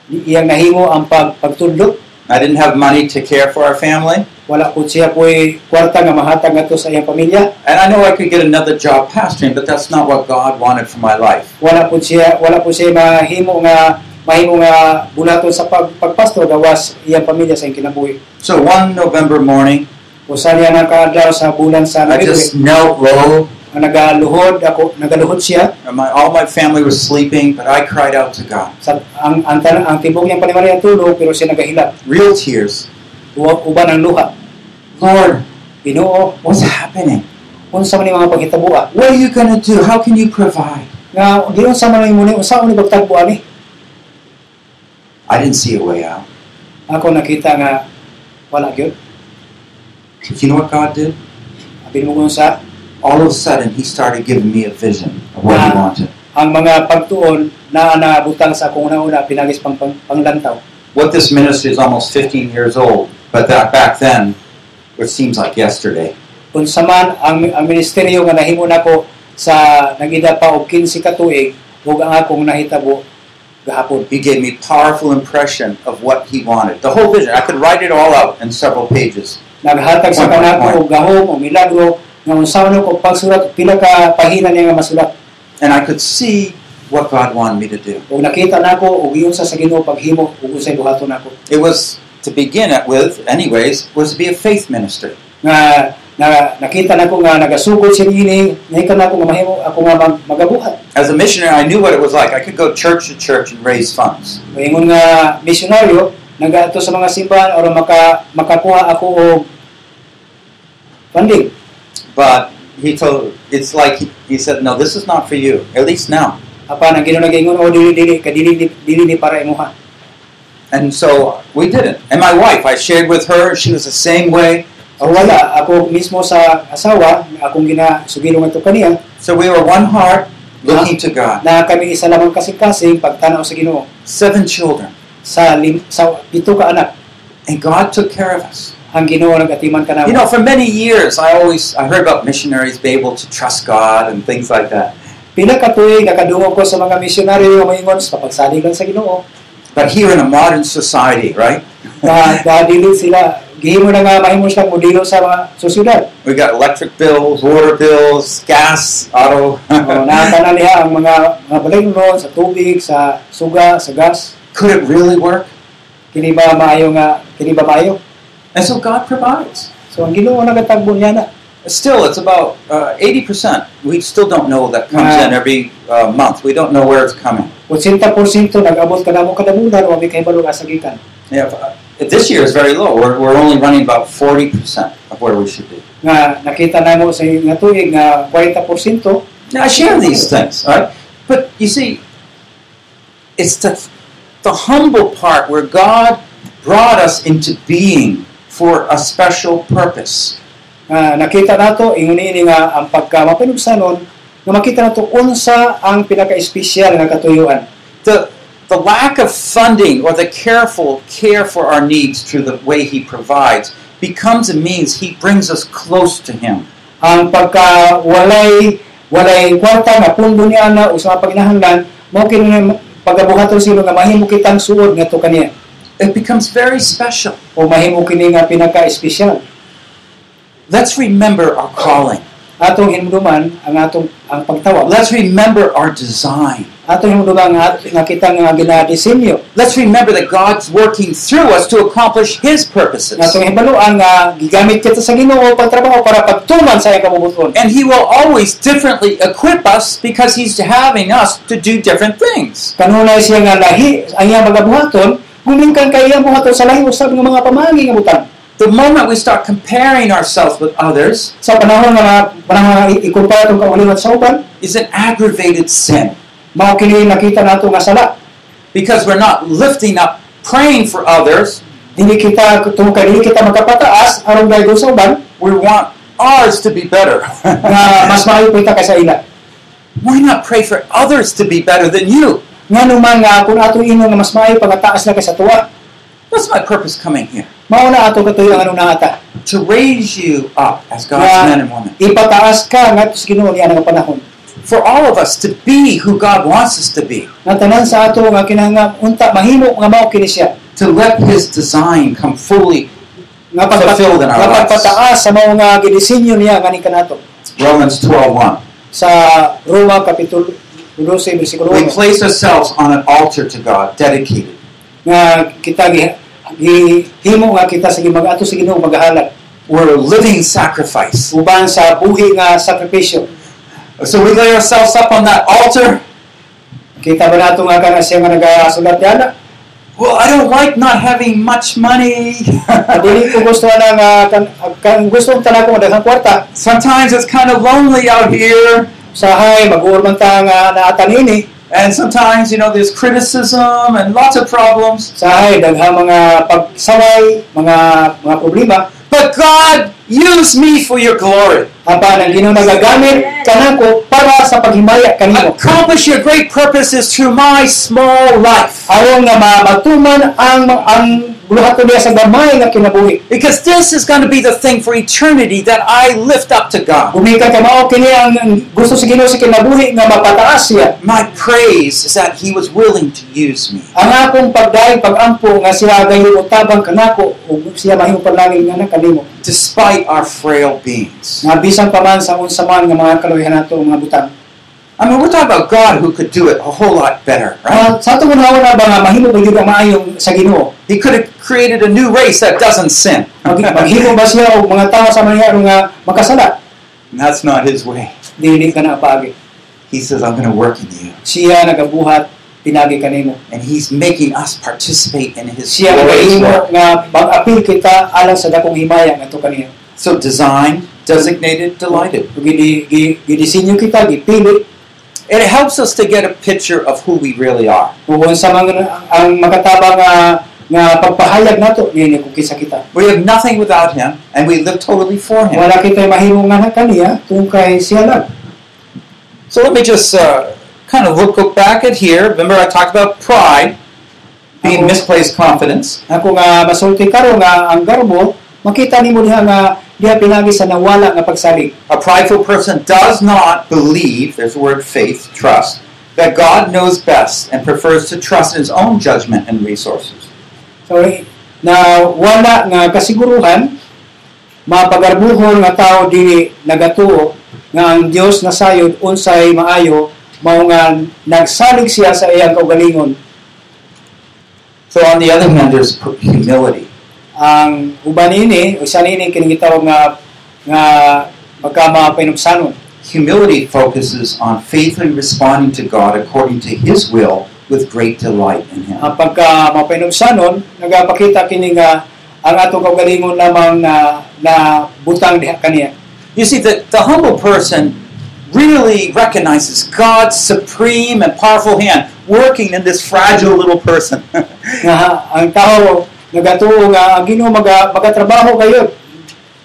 Speaker 2: iyang nahimo ang pag pagtudlo
Speaker 1: I didn't have money to care for our family.
Speaker 2: wala ko siya po'y kwarta nga mahatag ato sa iyang pamilya
Speaker 1: And I know I could get another job pastoring, but that's not what God wanted for my life.
Speaker 2: wala po siya wala po siya mahimo nga mahimo nga bulaton sa pag, pagpasto gawas iyang pamilya sa iyang kinabuhi
Speaker 1: So one November morning,
Speaker 2: usa niya nakaadlaw sa bulan sa
Speaker 1: I
Speaker 2: Nobyembre
Speaker 1: just knelt low.
Speaker 2: nga nagaluhod ako nagaluhod siya
Speaker 1: And my, all my family was sleeping, but I cried out to God.
Speaker 2: sa ang ang, tan- ang tibok niyang panimari ang tulog pero siya nagahilap
Speaker 1: Real tears.
Speaker 2: Uwa- uban ang luha
Speaker 1: Lord,
Speaker 2: Ginoo
Speaker 1: what's happening?
Speaker 2: unsa man yung mga paghitabo
Speaker 1: What are you going to do? How can you provide?
Speaker 2: nga di unsa man ang muni usa ni pagtagpo ani
Speaker 1: I didn't see a way out.
Speaker 2: ako nakita nga wala gyud
Speaker 1: But you know what God did?
Speaker 2: abin mo sa
Speaker 1: All of a sudden, He started giving me a vision of what He
Speaker 2: Wow.
Speaker 1: wanted.
Speaker 2: ang mga pagtuon na naabutang sa akong una-una pinagis pang, pang panglantaw
Speaker 1: What this ministry is almost 15 years old, but that back then, it seems like yesterday.
Speaker 2: kung saman ang, ang ministeryo nga nahimo nako sa nagida pa og 15 ka tuig ug ang akong nahitabo gahapon
Speaker 1: He gave me powerful impression of what he wanted. The whole vision. I could write it all out in several pages.
Speaker 2: naghatag sa kanako og gahom og milagro nga unsaon ko pagsulat pila ka pahina niya nga masulat
Speaker 1: And I could see what God wanted me to do.
Speaker 2: ug nakita nako og iyon sa sa Ginoo paghimo ug usay buhaton nako
Speaker 1: It was to begin it with, anyways, was to be a faith minister.
Speaker 2: nga na, nakita nako nga nagasugod siya niini nakita nako nga mahimo ako nga mag, magabuhat
Speaker 1: As a missionary, I knew what it was like. I could go church to church and raise funds.
Speaker 2: Mahingon nga misyonaryo, nagaato sa mga simbahan o maka, makakuha ako og funding.
Speaker 1: But he told, it's like he, he said, no, this is not for you, at least now.
Speaker 2: Apan ang ginoo nagaingon o dili dili ka dili dili, dili ni para imuha.
Speaker 1: And so we did it. And my wife, I shared with her, she was the same way.
Speaker 2: O wala ako mismo sa asawa akong ginasugilong ato kaniya
Speaker 1: So we were one heart looking to God.
Speaker 2: na kami isa lamang kasing-kasing pagtanaw sa Ginoo
Speaker 1: Seven children.
Speaker 2: sa lim, sa pito ka anak
Speaker 1: And God took care of us.
Speaker 2: ang Ginoo nagatiman kanamo.
Speaker 1: You know, for many years, I always I heard about missionaries being able to trust God and things like that.
Speaker 2: pila ka tuig nakadungog ko sa mga misyonaryo nga moingon sa pagsalig lang sa Ginoo
Speaker 1: But here in a modern society, right?
Speaker 2: na dili sila gihimo na nga mahimo silang modelo sa mga susyudad.
Speaker 1: we got electric bills, water bills, gas, auto,
Speaker 2: Oh, nakatana niya ang mga mga balingron sa tubig, sa suga, sa gas.
Speaker 1: Could it really work?
Speaker 2: Kini ba maayo nga, kini ba maayo?
Speaker 1: And so God provides.
Speaker 2: So ang Ginoo nagatagbo niya na
Speaker 1: Still, it's about uh, eighty percent. We still don't know that comes in every uh, month. We don't know where it's coming.
Speaker 2: 80% nag-abot ka namo kada bulan wa kay balog asagitan.
Speaker 1: Yeah, but, uh, this year is very low. We're, we're only running about forty percent of where we should be.
Speaker 2: Nga nakita namo sa nga tuig nga 40%
Speaker 1: Now I share these things, all right? But you see, it's the, the humble part where God brought us into being for a special purpose.
Speaker 2: nga Ah, nakita nato ingon ini nga ang pagka mapanugsanon nga makita nato unsa ang pinaka-espesyal nga katuyuan.
Speaker 1: The, the lack of funding or the careful care for our needs through the way He provides becomes a means He brings us close to Him.
Speaker 2: ang pagka walay walay kwarta nga pundo niya na usa ka paginahanglan mao kini pagabuhaton sila nga mahimo kitang suod ngadto kaniya
Speaker 1: It becomes very special.
Speaker 2: o mahimo kini nga pinaka espesyal
Speaker 1: Let's remember our calling.
Speaker 2: atong hinumduman ang atong ang pagtawag
Speaker 1: Let's remember our design.
Speaker 2: atong hinumduman nga, nga kita nga ginadesinyo
Speaker 1: Let's remember that God's working through us to accomplish His
Speaker 2: nga
Speaker 1: purposes.
Speaker 2: itong hibaluan nga gigamit kita sa Ginoo pagtrabaho para pagtuman sa iyang kabubuton
Speaker 1: And He will always differently equip us because He's having us to do different things.
Speaker 2: kanunay siya nga lahi ang iyang magabuhaton gumingkan kay iyang buhaton sa lahi usab nga mga pamagi nga butang
Speaker 1: The moment we start comparing ourselves with others
Speaker 2: sa panahon nga panahon nga i- ikumpara tong kauliwat sa uban
Speaker 1: is an aggravated sin
Speaker 2: mao kini nakita nato nga sala
Speaker 1: because we're not lifting up, praying for others.
Speaker 2: dili kita tungkol dili kita magkapataas aron daygo sa uban
Speaker 1: We want ours to be better.
Speaker 2: nga mas maayo kita kaysa ila
Speaker 1: Why not pray for others to be better than you?
Speaker 2: nganuman nga kung ato ino nga mas maayo pagataas na kaysa tuwa
Speaker 1: That's my purpose coming here
Speaker 2: mao na ato katuyo ang anong ata
Speaker 1: to raise you up as God's
Speaker 2: Yeah.
Speaker 1: men and women.
Speaker 2: ipataas ka ngadto sa Ginoo niya nga panahon
Speaker 1: For all of us to be who God wants us to be,
Speaker 2: nga tanan sa ato nga kinahanglan unta mahimo nga mao kini siya
Speaker 1: to let His design come fully.
Speaker 2: nga pagpat-
Speaker 1: Fulfilled in our
Speaker 2: nga
Speaker 1: lives.
Speaker 2: pagpataas sa mao nga gidisenyo niya ngani kanato
Speaker 1: Romans 12:1.
Speaker 2: sa Roma kapitulo 12 bersikulo
Speaker 1: We
Speaker 2: 1
Speaker 1: place ourselves on an altar to God, dedicated.
Speaker 2: nga kita gi- gi- himo nga kita sa gimag ato sa Ginoo magahalag
Speaker 1: We're a living sacrifice.
Speaker 2: uban sa buhi nga sakripisyo
Speaker 1: So we lay ourselves up on that altar.
Speaker 2: kita ba nato nga kana siya nga nagasulat yana
Speaker 1: Well, I don't like not having much money.
Speaker 2: dili ko gusto na nga kan, kan gusto ang tanako nga daghang kwarta
Speaker 1: Sometimes it's kind of lonely out here.
Speaker 2: sahay mag-uurman ta nga naatan ini
Speaker 1: And sometimes, you know, there's criticism and lots of problems.
Speaker 2: sahay daghang mga pagsaway mga mga problema
Speaker 1: But God, use me for your glory.
Speaker 2: apan ang Ginoo nagagamit kanako para sa paghimaya kanimo
Speaker 1: Accomplish your great purposes through my small life.
Speaker 2: aron nga ma- matuman ang ang buluhaton niya sa gamay nga kinabuhi
Speaker 1: Because this is going to be the thing for eternity that I lift up to God.
Speaker 2: Gumikan ka mao kini ang ang gusto sa Ginoo sa kinabuhi nga mapataas siya.
Speaker 1: My praise is that He was willing to use me.
Speaker 2: Ang akong pagdayag pagampo nga siya gayon utabang kanako ug siya mahimo panlangin nga na kanimo.
Speaker 1: despite our frail beings.
Speaker 2: Nga bisan pa man sa unsa man nga mga kaluyahan nato mga butang.
Speaker 1: I mean, we're talking about God who could do it a whole lot better, right?
Speaker 2: Ah, sa atong unahon na ba nga mahimo ba gyud ang maayong sa Ginoo?
Speaker 1: He could have created a new race that doesn't sin.
Speaker 2: Mag- Maghimo ba siya og mga tawo sa mga nga makasala?
Speaker 1: And That's not His way.
Speaker 2: Dili ka na apagi.
Speaker 1: He says, I'm going to work in you.
Speaker 2: Siya nagabuhat pinagi kanimo.
Speaker 1: And He's making us participate in His
Speaker 2: Siya ang
Speaker 1: glorious
Speaker 2: mahimo
Speaker 1: work.
Speaker 2: nga mag-apil kita alang sa dakong himaya nga to kaniya.
Speaker 1: So, designed, designated, delighted.
Speaker 2: Gidi gi- gidisinyo kita gipili
Speaker 1: It helps us to get a picture of who we really are.
Speaker 2: Kung sa mga ang makatabang nga nga pagpahayag nato ni ko kisa kita.
Speaker 1: We have nothing without Him, and we live totally for Him.
Speaker 2: Wala kita mahimo nga na kaniya kung kay siya lang.
Speaker 1: So, let me just uh, kind of look, look back at here. Remember, I talked about pride, being
Speaker 2: Oh.
Speaker 1: misplaced confidence.
Speaker 2: Ako nga masulti karo nga ang garbo makita nimo diha nga diha pinagi sa nawala nga pagsalig.
Speaker 1: A prideful person does not believe, there's the word faith, trust, that God knows best and prefers to trust in his own judgment and resources.
Speaker 2: So eh, na wala nga kasiguruhan mapagarbuhon nga tao dili nagatuo nga ang Dios nasayod unsay maayo mao nga nagsalig siya sa iyang kaugalingon
Speaker 1: So, on the other hand, there's p- humility.
Speaker 2: ang uban ini o siya ini kining gitawag nga nga magkama pinugsanon
Speaker 1: Humility focuses on faithfully responding to God according to his will with great delight in him.
Speaker 2: ang pagka mapinugsanon nagapakita kini nga ang atong kaugalingon lamang na na butang diha kaniya
Speaker 1: You see, the, the humble person really recognizes God's supreme and powerful hand working in this fragile little person.
Speaker 2: nga ang tao nagatuo nga ang Ginoo maga, magatrabaho kayo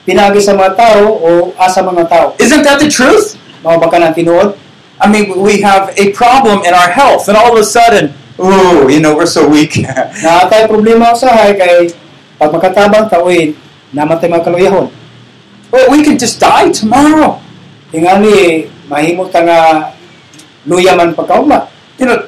Speaker 2: pinagi sa mga tao o asa mga tao
Speaker 1: Isn't that the truth?
Speaker 2: mao ba ka nang tinuod
Speaker 1: I mean, we have a problem in our health, and all of a sudden, ooh, you know, we're so weak.
Speaker 2: Na atay problema usahay kay pag makatabang tawid, namatay mga kaluyahon.
Speaker 1: well, we can just die tomorrow.
Speaker 2: Tingali, mahimo ta nga luya man pagkauma.
Speaker 1: You know,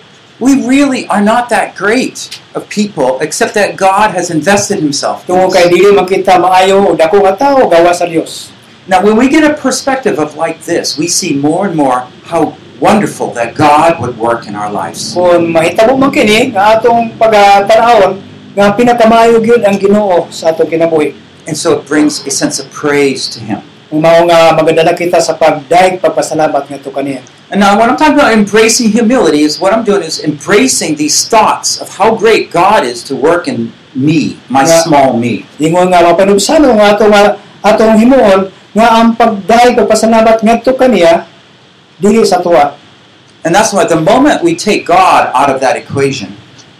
Speaker 1: we really are not that great of people, except that God has invested Himself. in
Speaker 2: Tungo
Speaker 1: us.
Speaker 2: kay dili makita maayo o dako nga tao gawa sa Dios.
Speaker 1: Now, when we get a perspective of like this, we see more and more how wonderful that God would work in our lives.
Speaker 2: Kung mahitabo man kini nga atong pagatanawon nga pinakamayo gyud ang Ginoo sa atong kinabuhi.
Speaker 1: And so it brings a sense of praise to Him.
Speaker 2: Kung mao nga magadala kita sa pagdaig pagpasalamat nga to kaniya.
Speaker 1: And now, when I'm talking about embracing humility, is what I'm doing is embracing these thoughts of how great God is to work in me, my
Speaker 2: Yeah.
Speaker 1: small me.
Speaker 2: Ingon nga mapanubsano nga atong atong himuon nga ang pagdaig pagpasalamat nga to kaniya dili sa tuwa
Speaker 1: And that's why the moment we take God out of that equation,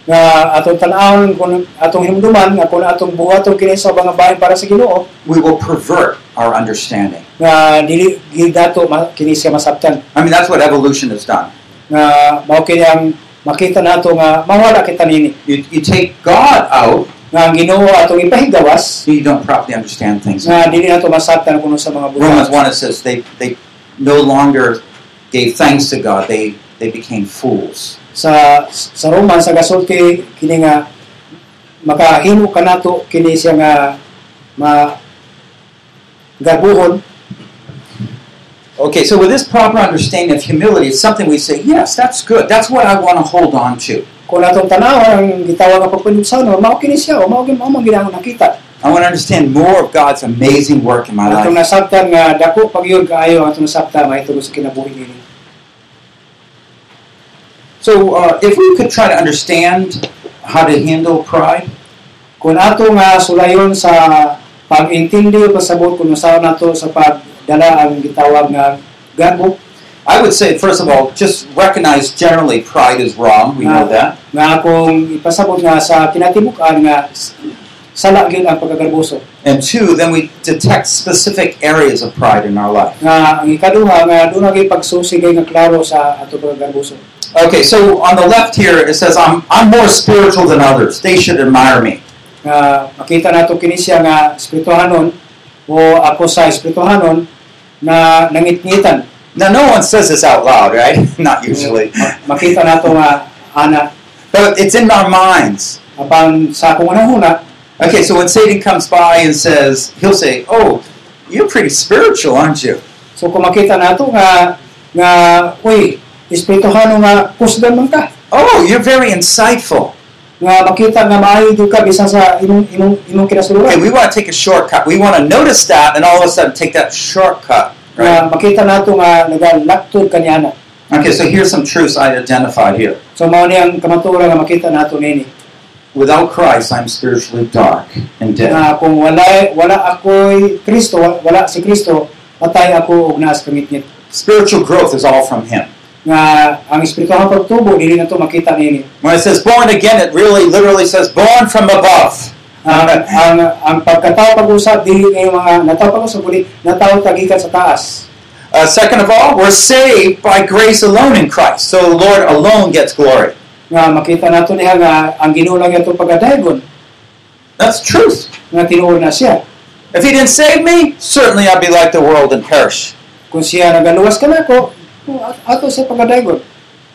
Speaker 2: nga atong tan-awon kung atong himduman nga kung atong buhaton kini sa mga bahin para sa Ginoo
Speaker 1: we will pervert our understanding.
Speaker 2: nga dili gid nato ma- kini siya masabtan
Speaker 1: I mean, that's what evolution has done.
Speaker 2: nga mao kini ang makita nato nga mawala kita nini
Speaker 1: You, you take God out,
Speaker 2: nga ang Ginoo atong ipahigawas
Speaker 1: so you don't properly understand things.
Speaker 2: nga dili nato masabtan kuno sa mga
Speaker 1: Romans 1
Speaker 2: buhat
Speaker 1: it says they, they no longer gave thanks to God, they, they became fools.
Speaker 2: sa sa Roman sa gasulti kini nga makahimo ka nato kini siya nga ma garbuhon
Speaker 1: Okay, so with this proper understanding of humility, it's something we say, yes, that's good. That's what I want to hold on to.
Speaker 2: kung atong tanaw ang gitawag nga pagpanubsano mao kini siya o mao gyud mao man gid ang nakita
Speaker 1: I want to understand more of God's amazing work in my
Speaker 2: Atong
Speaker 1: life.
Speaker 2: nasabtan nga dako pagyon kaayo atong nasabtan may tulo sa kinabuhi nini.
Speaker 1: So uh, if we could try to understand how to handle pride,
Speaker 2: Kung ato nga sulayon sa pag-intindi o pasabot kung usaw nato sa pagdala ang gitawag nga gago
Speaker 1: I would say, first of all, just recognize generally pride is wrong. We know that.
Speaker 2: nga akong ipasabot nga sa kinatibukan nga s- sala gyud ang pagkagarboso
Speaker 1: And two, then we detect specific areas of pride in our life.
Speaker 2: nga ang ikaduha nga doon gyud pagsusigay nga klaro sa ato pagkagarboso
Speaker 1: Okay, so on the left here it says I'm I'm more spiritual than others. They should admire me.
Speaker 2: nga makita nato kini siya nga espirituhanon o ako sa espirituhanon na nangitngitan
Speaker 1: Now no one says this out loud, right? Not usually.
Speaker 2: Ma- makita nato nga ana
Speaker 1: But it's in our minds.
Speaker 2: apan sa akong unahuna
Speaker 1: Okay, so when Satan comes by and says, he'll say, "Oh, you're pretty spiritual, aren't you?"
Speaker 2: so kung makita nato nga nga uy espirituhano nga kusdan man ka
Speaker 1: "Oh, you're very insightful."
Speaker 2: nga makita nga maayo jud ka bisan sa imong imong imong kinasuluran
Speaker 1: Okay, we want to take a shortcut. We want to notice that and all of a sudden take that shortcut, right?
Speaker 2: nga makita nato nga nagalaktod kaniana
Speaker 1: Okay, so here's some truths I identified here.
Speaker 2: so mao ni ang kamatuoran nga makita nato nini
Speaker 1: Without Christ, I'm spiritually dark and dead.
Speaker 2: nga kung wala wala ako'y Kristo wa- wala si Kristo patay ako og naas kangitngit
Speaker 1: Spiritual growth is all from him.
Speaker 2: nga ang espirituhang pagtubo dili nato makita nini
Speaker 1: When it says born again, it really literally says born from above.
Speaker 2: ang ang, ang pagkatao pag-usap dili kayo mga nataw pag-usap uli nataw tagikan sa taas
Speaker 1: Uh, second of all, we're saved by grace alone in Christ. So the Lord alone gets glory.
Speaker 2: nga makita nato niya nga ang Ginoo lang yato pagadayon
Speaker 1: That's truth.
Speaker 2: nga tinuod na siya
Speaker 1: If he didn't save me, certainly I'd be like the world and perish.
Speaker 2: kung siya nagaluwas ka nako kung at- ato sa pagadayon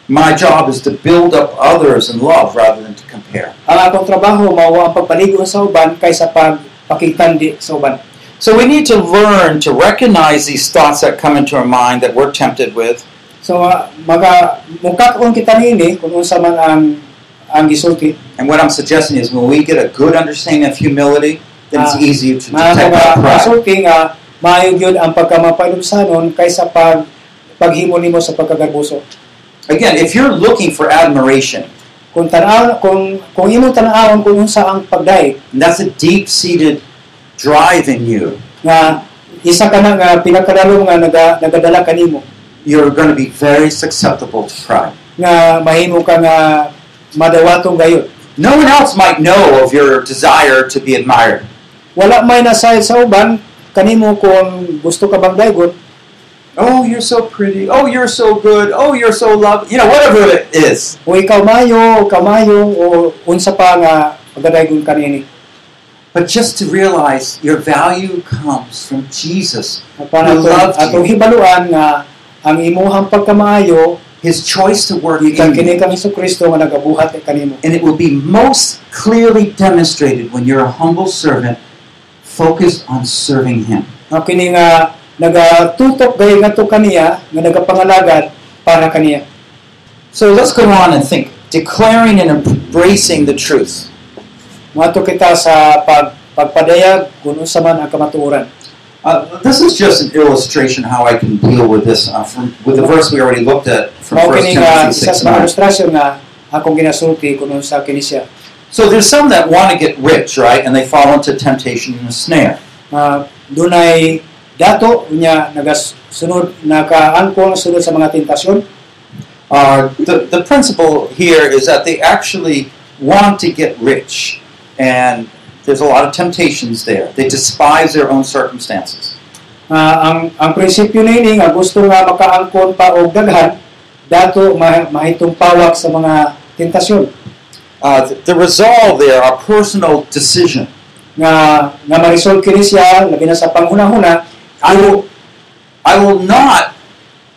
Speaker 1: My job is to build up others in love rather than to compare.
Speaker 2: ang akong trabaho mao ang pagpaligo sa uban kaysa pagpakitandi sa uban
Speaker 1: So we need to learn to recognize these thoughts that come into our mind that we're tempted with,
Speaker 2: so ah, maga mukat on kita nini kung unsa man ang ang gisulti
Speaker 1: and what I'm suggesting is when we get a good understanding of humility, then it's
Speaker 2: Ah.
Speaker 1: easier to
Speaker 2: mga
Speaker 1: detect our pride.
Speaker 2: kasulti nga maayo gyud ang pagkamapanubsanon kaysa pag paghimo nimo sa pagkagarbuso
Speaker 1: Again, if you're looking for admiration,
Speaker 2: kung tanaw kung kung imo tanawon kung unsa ang pagday
Speaker 1: and that's a deep seated drive in you,
Speaker 2: nga isa ka na nga pinakadalo nga naga, nagadala kanimo
Speaker 1: you're going to be very susceptible to pride.
Speaker 2: nga mahimo ka nga madawatong gayon
Speaker 1: No one else might know of your desire to be admired,
Speaker 2: wala may nasayod sa uban kanimo kung gusto ka bang dayon
Speaker 1: Oh, you're so pretty. Oh, you're so good. Oh, you're so lovely. You know, whatever it is.
Speaker 2: O ikaw mayo, ikaw mayo, o unsa pa nga pagdadayon kanini.
Speaker 1: But just to realize your value comes from Jesus,
Speaker 2: O para
Speaker 1: We
Speaker 2: ato,
Speaker 1: love you.
Speaker 2: atong hibaluan nga ang imuhang pagkamaayo
Speaker 1: His choice to work in
Speaker 2: gikan
Speaker 1: you.
Speaker 2: kini kang Hesus Kristo nga nagabuhat kanimo.
Speaker 1: And it will be most clearly demonstrated when you're a humble servant focused on serving Him.
Speaker 2: Nga kini nga nagatutok gayud ngadto kaniya nga nagapangalagad para kaniya.
Speaker 1: So let's go on and think. Declaring and embracing the truth.
Speaker 2: Mato kita sa pag pagpadayag kung unsa man ang kamatuoran.
Speaker 1: Uh, this is just an illustration how I can deal with this uh, from, with the verse we already looked at from
Speaker 2: Mao
Speaker 1: 1
Speaker 2: kini nga
Speaker 1: Timothy 6
Speaker 2: isa sa mga
Speaker 1: 9.
Speaker 2: ilustrasyon nga akong ginasulti kung unsa kini siya.
Speaker 1: So there's some that want to get rich, right? And they fall into temptation and a snare.
Speaker 2: uh, dunay dato niya nagasunod nakaangkon sunod sa mga tentasyon
Speaker 1: Uh, the, the principle here is that they actually want to get rich, and there's a lot of temptations there. They despise their own circumstances.
Speaker 2: Ah, ang ang prinsipyo nini nga gusto nga makaangkon pa og daghan dato ma- mahitong pawak sa mga tentasyon
Speaker 1: Uh, the, the resolve there, our personal decision.
Speaker 2: nga nga marisol kini siya labi na sa panghunahuna
Speaker 1: I will, I will not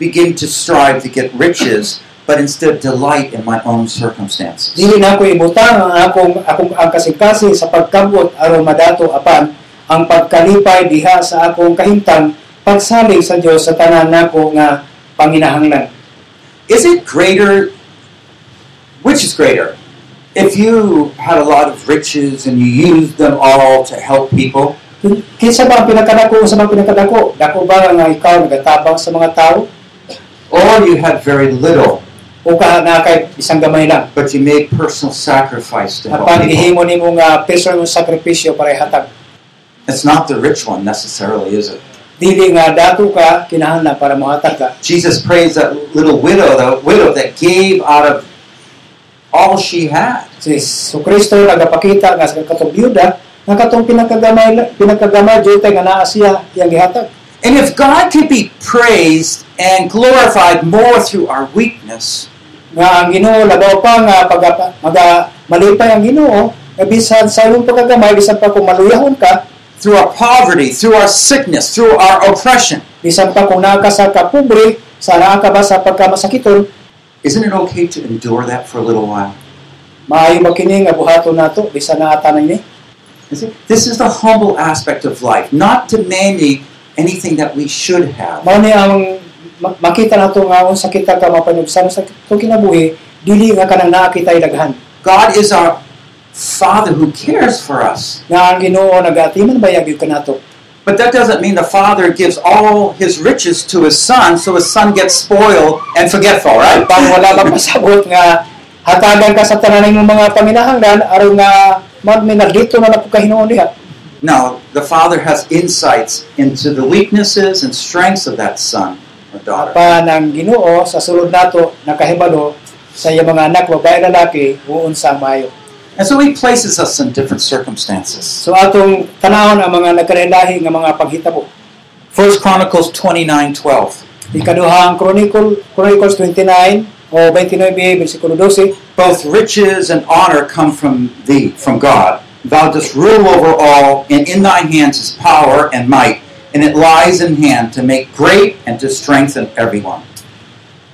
Speaker 1: begin to strive to get riches, but instead delight in my own circumstances.
Speaker 2: dili na ko ibutang ang akong akong ang kasing sa pagkabot aron madato apan ang pagkalipay diha sa akong kahimtang pagsalig sa Dios sa tanan nako nga panginahanglan
Speaker 1: is it greater which is greater if you had a lot of riches and you used them all to help people
Speaker 2: Kinsa ba ang pinakadako sa mga pinakadako? Dako ba nga ikaw nagatabang sa mga tao?
Speaker 1: or you had very little
Speaker 2: O ka na kay isang gamay lang?
Speaker 1: but you made personal sacrifice to help
Speaker 2: Apan
Speaker 1: people
Speaker 2: ihimo nimo nga personal sakripisyo para ihatag.
Speaker 1: it's not the rich one necessarily is it
Speaker 2: Dili nga dato ka kinahanglan para mohatag ka.
Speaker 1: jesus praised that little widow the widow that gave out of all she had
Speaker 2: Si so Kristo nagapakita nga sa katong byuda nga katong pinakagamay la- pinakagamay jud tay nga naa siya iyang gihatag.
Speaker 1: and if god can be praised and glorified more through our weakness
Speaker 2: Nga ang Ginoo labaw pa nga pag maga malipay ang Ginoo nga bisan sa imong pagkagamay bisan pa kung maluyahon ka
Speaker 1: through our poverty through our sickness through our oppression
Speaker 2: bisan pa kung naa ka sa kapobre sa naa ka ba sa pagkamasakiton
Speaker 1: Isn't it okay to endure that for a little while?
Speaker 2: Maayo ba kini nga buhaton nato bisan na ata na ini?
Speaker 1: Is it? This is the humble aspect of life, not demanding anything that we should have.
Speaker 2: Mao ni ang ma- makita nato nga unsa kita ka mapanubsan sa kitong kinabuhi dili nga kanang naa kita ilaghan.
Speaker 1: God is our Father who cares for us.
Speaker 2: Nga ang Ginoo nagatiman bayag gyud kanato.
Speaker 1: But that doesn't mean the Father gives all his riches to his Son so his Son gets spoiled and forgetful, right?
Speaker 2: Pang wala bang pasabot nga hatagan ka sa tanan ng mga panginahanglan aron nga magminag dito na ako kahinuon diha.
Speaker 1: No, the Father has insights into the weaknesses and strengths of that son or daughter.
Speaker 2: Pa ng Ginoo sa sulod nato nakahibalo sa iyang mga anak babae lalaki uunsa maayo.
Speaker 1: And so he places us in different circumstances.
Speaker 2: So atong tanawon ang mga nagkalahi nga mga paghitabo.
Speaker 1: 1 Chronicles 29 12.
Speaker 2: Ikaduhang Chronicle, Chronicles 29 o 29 bersikulo 12
Speaker 1: Both riches and honor come from thee, from God. Thou dost rule over all, and in thine hands is power and might, and it lies in hand to make great and to strengthen everyone.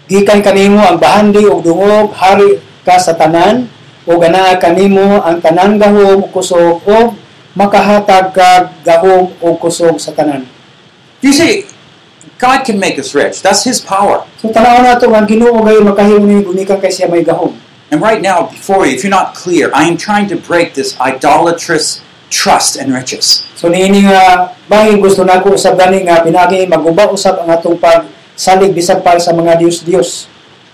Speaker 2: Gikan kanimo ang bahandi ug dungog hari ka sa tanan o ganaa kanimo ang tanan gahom ug kusog o makahatag ka gahom o kusog sa tanan.
Speaker 1: You see, God can make us rich. That's His power.
Speaker 2: So tanaw nato nga ang Ginoo gayud makahimo ni gunikan kay siya may gahom.
Speaker 1: And right now, before you, if you're not clear, I am trying to break this idolatrous trust in riches.
Speaker 2: So niini nga bahin gusto nako usab gani nga pinagi maguba usab ang atong pag salig bisan para sa mga Dios-Dios.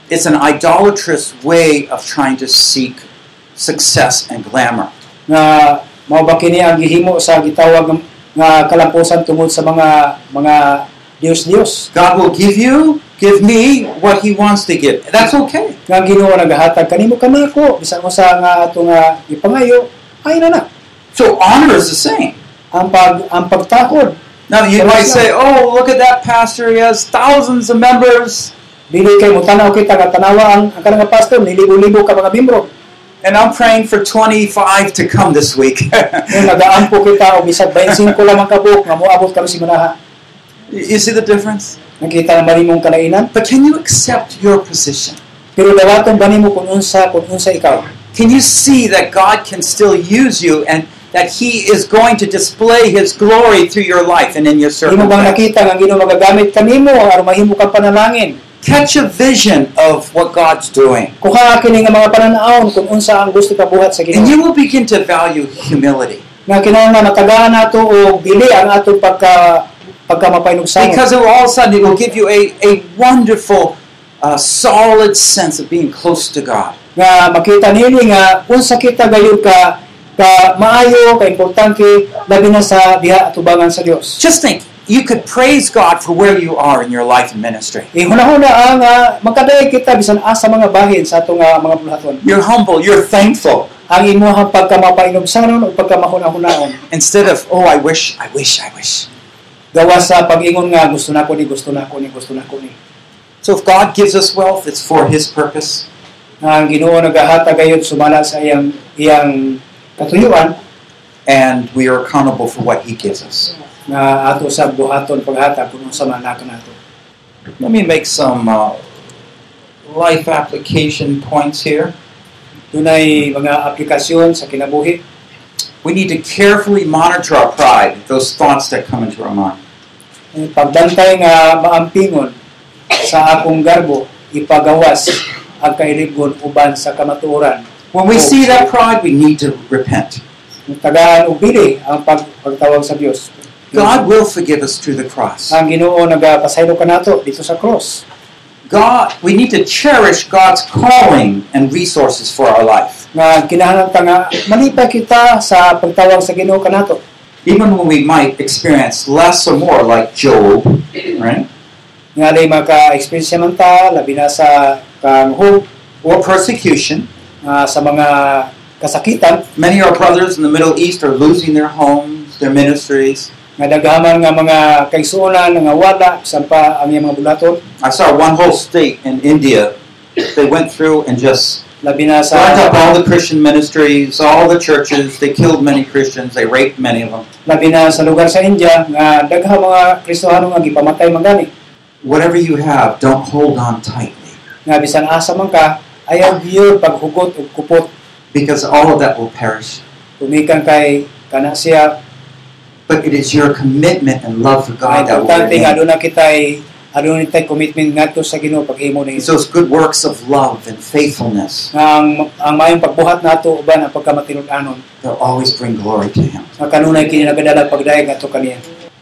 Speaker 1: It's an idolatrous way of trying to seek success and glamour.
Speaker 2: nga mao ba kini ang gihimo sa gitawag ng- nga kalampusan tungod sa mga mga Dios-Dios
Speaker 1: God will give you, give me what He wants to give. That's okay.
Speaker 2: nga ang Ginoo nagahatag kanimo kanako bisan usa nga ato nga ipangayo ay na na
Speaker 1: So honor is the same.
Speaker 2: ang pag ang pagtakod
Speaker 1: Now you
Speaker 2: Pero
Speaker 1: might say,
Speaker 2: siya-
Speaker 1: "Oh, look at that pastor! He has thousands of members,
Speaker 2: Dili kay mo tanaw kita nga tanawa ang ang kanang pastor nilibo-libo ka mga membro.
Speaker 1: and I'm praying for 25 to come this week."
Speaker 2: Nga nagaan po kita og bisag 25 lamang ka buok nga moabot kami si Manaha.
Speaker 1: you see the difference?
Speaker 2: Nakita naman nimong kalainan.
Speaker 1: But can you accept your position?
Speaker 2: Pero dawaton ba nimo kung unsa kung unsa ikaw?
Speaker 1: Can you see that God can still use you and that He is going to display His glory through your life and in your
Speaker 2: Imo bang
Speaker 1: circumstances?
Speaker 2: nakita nga Ginoo magagamit kanimo aron mahimo ka panalangin?
Speaker 1: Catch a vision of what God's doing,
Speaker 2: Kuha kini nga mga pananaon kung unsa ang gusto ka buhat sa
Speaker 1: and
Speaker 2: Ginoo.
Speaker 1: you will begin to value humility
Speaker 2: Nga kinahanglan natagaan nato og dili ang atong pagka pagka
Speaker 1: because it will all of a sudden it will give you a, a wonderful, uh, solid sense of being close to God.
Speaker 2: nga makita nini nga unsa kita gayud ka ka maayo ka importante labi na sa diha atubangan sa Dios.
Speaker 1: Just think, you could praise God for where you are in your life and ministry.
Speaker 2: Eh, Ihunahuna ang uh, makadayag kita bisan asa mga bahin sa atong ah, mga bulaton.
Speaker 1: You're humble, you're thankful,
Speaker 2: Ang imuhang pagkamapainumsanon o pagkamahuna-hunaon
Speaker 1: instead of, oh, I wish, I wish, I wish.
Speaker 2: gawa sa pag-ingon nga gusto nako ni gusto nako ni gusto nako ni.
Speaker 1: So if God gives us wealth, it's for His purpose.
Speaker 2: Nga ang Ginoo nagahata gayud sumala sa iyang iyang katuyuan
Speaker 1: and we are accountable for what he gives us.
Speaker 2: nga ato sa buhaton paghata kung unsa man naka nato.
Speaker 1: Let me make some uh, life application points here.
Speaker 2: Dunay mga aplikasyon sa kinabuhi
Speaker 1: We need to carefully monitor our pride, those thoughts that come into our mind.
Speaker 2: pagdantay nga maampingon sa akong garbo ipagawas ang kailigon uban sa kamatuoran
Speaker 1: When we see that pride, we need to repent.
Speaker 2: tagaan og bili ang pag, pagtawag sa Dios
Speaker 1: God will forgive us through the cross.
Speaker 2: ang Ginoo nagapasaylo kanato dito sa cross
Speaker 1: God, we need to cherish God's calling and resources for our life,
Speaker 2: nga kinahanglan ta nga malipay kita sa pagtawag sa Ginoo kanato
Speaker 1: even when we might experience less or more, like Job, right?
Speaker 2: nga lay maka experience man ta labi na sa kang hope
Speaker 1: Or persecution.
Speaker 2: nga sa mga kasakitan
Speaker 1: Many of our brothers in the Middle East are losing their homes, their ministries.
Speaker 2: nga daghaman nga mga kaigsuonan nga wala sampa ang iyang mga bulaton
Speaker 1: I saw one whole state in India. They went through and just
Speaker 2: labi na sa
Speaker 1: burnt up all the Christian ministries, all the churches. They killed many Christians. They raped many of them.
Speaker 2: labi na sa lugar sa India nga dagha mga Kristohano nga gipamatay man gani
Speaker 1: Whatever you have, don't hold on tightly
Speaker 2: nga bisan asa man ka ayaw gyud paghugot og kupot
Speaker 1: because all of that will perish.
Speaker 2: tumikan kay kana siya
Speaker 1: But it is your commitment and love for God
Speaker 2: ang
Speaker 1: that will
Speaker 2: importante nga
Speaker 1: remain.
Speaker 2: aduna kitay aduna tay commitment ngadto sa Ginoo paghimo ni
Speaker 1: It's
Speaker 2: Hesus
Speaker 1: those good works of love and faithfulness
Speaker 2: nga ang, ang mayong pagbuhat nato uban ang pagkamatinud-anon
Speaker 1: that always bring glory to Him.
Speaker 2: nga kanunay kini nagadala pagdayag ngadto kaniya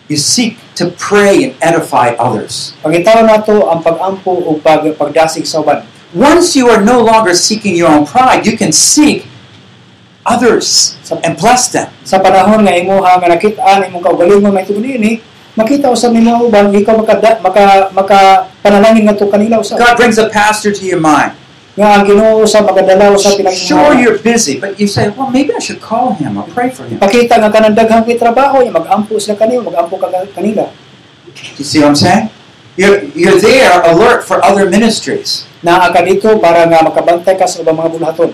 Speaker 1: You seek to pray and edify others.
Speaker 2: pangitaw nato ang pagampo o pag, pagdasig sa uban
Speaker 1: Once you are no longer seeking your own pride, you can seek others
Speaker 2: sa,
Speaker 1: and bless them.
Speaker 2: sa panahon nga imuha nga nakita imong kaugalingon may tungod ini eh. makita usab nila ubang ikaw maka maka maka panalangin ngadto kanila usab
Speaker 1: God brings a pastor to your mind.
Speaker 2: nga ang Ginoo usab magadala
Speaker 1: Sure,
Speaker 2: usab pinagmahal
Speaker 1: you're busy, but you say, well, maybe I should call him or pray for him.
Speaker 2: pakita nga kanang daghang kay trabaho ya magampo sila kanila magampo ka kanila
Speaker 1: You see what I'm saying? You're, you're there alert for other ministries,
Speaker 2: naa ka dito para nga makabantay ka sa ubang mga bulaton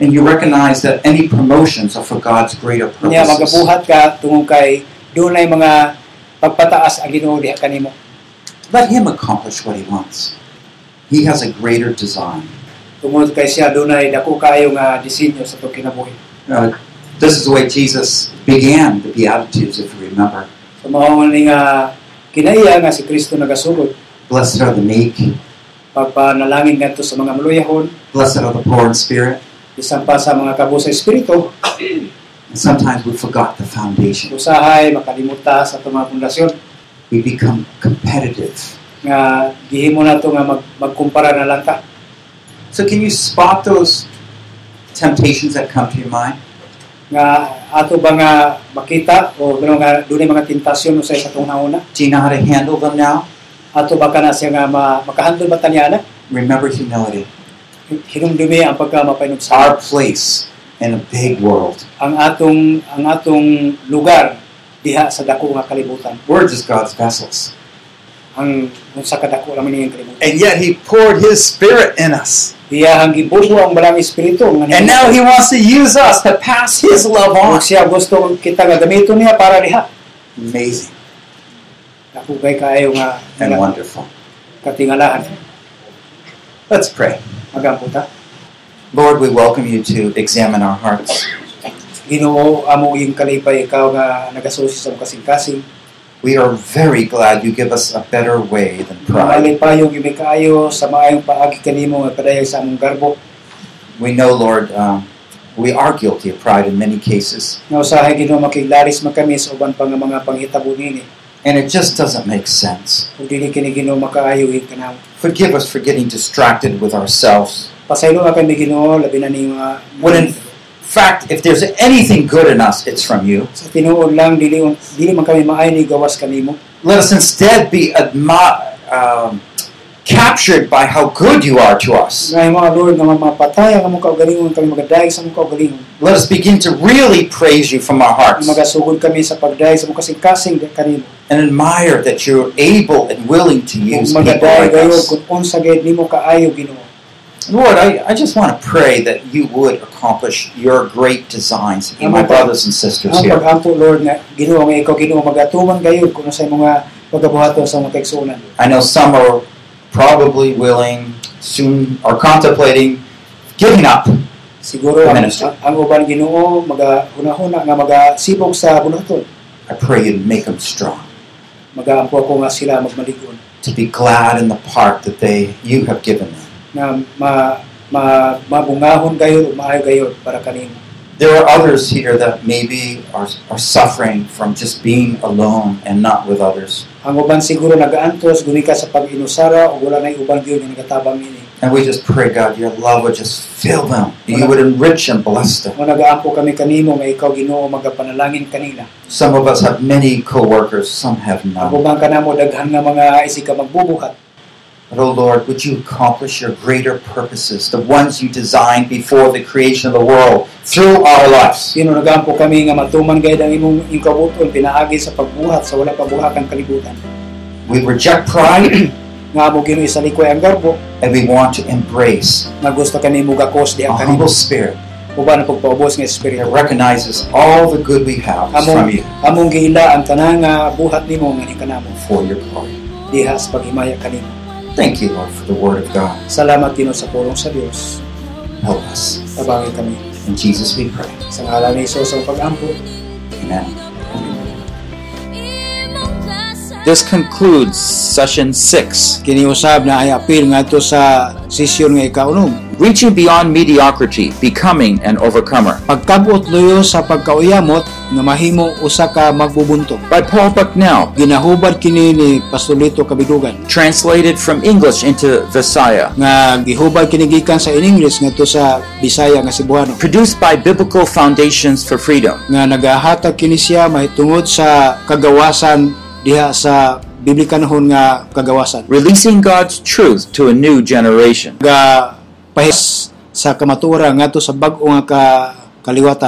Speaker 1: and you recognize that any promotions are for God's greater
Speaker 2: niya
Speaker 1: purposes.
Speaker 2: magabuhat ka tungod kay dunay mga pagpataas ang Ginoo diha kanimo
Speaker 1: Let him accomplish what he wants. He has a greater design.
Speaker 2: tungod kay siya dunay dako kaayo nga disenyo sa atong kinabuhi
Speaker 1: Uh, this is the way Jesus began the Beatitudes, if you remember.
Speaker 2: so mao ni nga kinaiya nga si Kristo nagasugod
Speaker 1: Blessed are the meek,
Speaker 2: pagpanalangin ngadto sa mga maluyahon
Speaker 1: blessed are the poor in spirit.
Speaker 2: bisan pa sa mga kabusay espiritu
Speaker 1: And sometimes we forgot the foundation.
Speaker 2: usahay makalimuta sa atong mga pundasyon
Speaker 1: We become competitive.
Speaker 2: nga gihimo nato nga mag, magkumpara na lang ta
Speaker 1: So can you spot those temptations that come to your mind?
Speaker 2: nga ato ba nga makita o gano nga dunay mga tentasyon usay sa atong nauna
Speaker 1: Do you know how to handle them now?
Speaker 2: ato ba kana siya nga ma, makahandle ba tanyana
Speaker 1: Remember humility.
Speaker 2: hinumdumi ang pagkamapainumsanon
Speaker 1: Our place in a big world.
Speaker 2: ang atong ang atong lugar diha sa dako nga kalibutan
Speaker 1: We're just God's vessels.
Speaker 2: ang unsa ka dako lang niyang kalibutan
Speaker 1: And yet He poured His Spirit in us.
Speaker 2: diha ang gibuso ang balang espiritu nga
Speaker 1: And now He wants to use us to pass His love
Speaker 2: Ug
Speaker 1: on.
Speaker 2: siya gusto kita nga gamiton niya para diha
Speaker 1: Amazing
Speaker 2: ako kay kaayo nga
Speaker 1: and
Speaker 2: nga
Speaker 1: wonderful.
Speaker 2: katingalahan
Speaker 1: Let's pray.
Speaker 2: magamputa
Speaker 1: Lord, we welcome you to examine our hearts.
Speaker 2: Ginoo amo yung kalipay ikaw nga nagasusi sa kasing-kasing
Speaker 1: We are very glad you give us a better way than pride.
Speaker 2: malipayong yung kaayo sa maayong paagi kanimo nga padayag sa among garbo
Speaker 1: We know, Lord, um, we are guilty of pride in many cases,
Speaker 2: nga usahay Ginoo makiglaris man kami sa uban pang mga panghitabo nini
Speaker 1: and it just doesn't make sense.
Speaker 2: ug dili kini Ginoo makaayo yung kanamo
Speaker 1: Forgive us for getting distracted with ourselves.
Speaker 2: pasaylo ka kami Ginoo labi na ning mga
Speaker 1: When in fact, if there's anything good in us, it's from you.
Speaker 2: sa tinuod lang dili dili man kami maayo ni gawas kanimo
Speaker 1: Let us instead be admi- um, captured by how good you are to us.
Speaker 2: nga mga Lord nga mapatay ang among kaugalingon kami magadayag sa among kaugalingon
Speaker 1: Let us begin to really praise you from our
Speaker 2: Ang
Speaker 1: hearts
Speaker 2: magasugod kami sa pagdayag sa among kasing-kasing kanimo
Speaker 1: and admire that you're able and willing to use people like
Speaker 2: magadayag gayud
Speaker 1: us.
Speaker 2: kung unsa gayud nimo kaayo Ginoo
Speaker 1: Lord, I, I just want to pray that you would accomplish your great designs in my brothers and sisters
Speaker 2: Ang
Speaker 1: here.
Speaker 2: pag-ampo, Lord, nga ginoo nga ikaw, ginoo, magatuman kayo kung sa mga pagkabuhato sa mga kaigsuunan.
Speaker 1: I know some are probably willing, soon are contemplating giving up.
Speaker 2: Siguro ang,
Speaker 1: Minister.
Speaker 2: ang uban ginoo, magahuna-huna nga magasibog sa buhaton.
Speaker 1: I pray you'd make them strong
Speaker 2: Magaampo ako nga sila magmaligon
Speaker 1: to be glad in the part that they you have given them.
Speaker 2: na ma, ma, mabungahon kayo o maayo kayo para kanino.
Speaker 1: There are others here that maybe are, are suffering from just being alone and not with others.
Speaker 2: Ang uban siguro nagaantos, gunika sa pag-inusara o wala na yung uban yun yung nagatabang ini.
Speaker 1: And we just pray, God, your love would just fill them. You would enrich and bless them.
Speaker 2: Kung nagaampo kami kanimo nga ikaw ginoo magapanalangin kanila.
Speaker 1: Some of us have many coworkers, some have none.
Speaker 2: Ang uban kanamo daghan nga mga isi ka magbubuhat.
Speaker 1: But, O Lord, would you accomplish your greater purposes, the ones you designed before the creation of the world, through our lives?
Speaker 2: Pinunagaan po kami nga matuman gayud ang imong inkabuton pinaagi sa pagbuhat sa wala pabuhatang kalibutan.
Speaker 1: We reject pride
Speaker 2: Nga amo Ginoo isalikoy ang garbo
Speaker 1: and we want to embrace
Speaker 2: nga gusto kanimo gakos di
Speaker 1: a
Speaker 2: ang
Speaker 1: humble
Speaker 2: kanimo
Speaker 1: spirit
Speaker 2: uban ang pagpaubos nga
Speaker 1: that
Speaker 2: espiritu.
Speaker 1: recognizes all the good we have is from
Speaker 2: Among
Speaker 1: you
Speaker 2: among giila ang tanan nga buhat nimo nga ni kanamo
Speaker 1: for your glory.
Speaker 2: diha sa paghimaya kanimo.
Speaker 1: Thank you, Lord, for the word of God.
Speaker 2: Salamat Ginoo sa pulong sa Dios.
Speaker 1: Help us.
Speaker 2: Tabangin kami
Speaker 1: In Jesus we pray.
Speaker 2: sa ngalan ni Hesus ang pag-ampo.
Speaker 1: Amen. This
Speaker 3: This
Speaker 1: concludes session six
Speaker 2: Kiniusab na ay apil nga ato sa sesyon nga ikaunom.
Speaker 1: Reaching Beyond Mediocrity, Becoming an Overcomer
Speaker 2: Pagtabot luyo sa pagkauyamot nga mahimo usa ka magbubuntong.
Speaker 1: by Paul Bucknell,
Speaker 2: ginahubad kini ni Pastolito Kabidugan
Speaker 1: translated from English into Visaya.
Speaker 2: nga gihubad kini gikan sa in English ngadto sa Bisaya nga Cebuano
Speaker 1: produced by Biblical Foundations for Freedom.
Speaker 2: nga nagahatag kini siya mahitungod sa kagawasan diha sa biblikanhon nga kagawasan
Speaker 1: Releasing God's truth to a new generation.
Speaker 2: nga pahis sa kamatura ngadto sa bag-o nga ka kaliwatan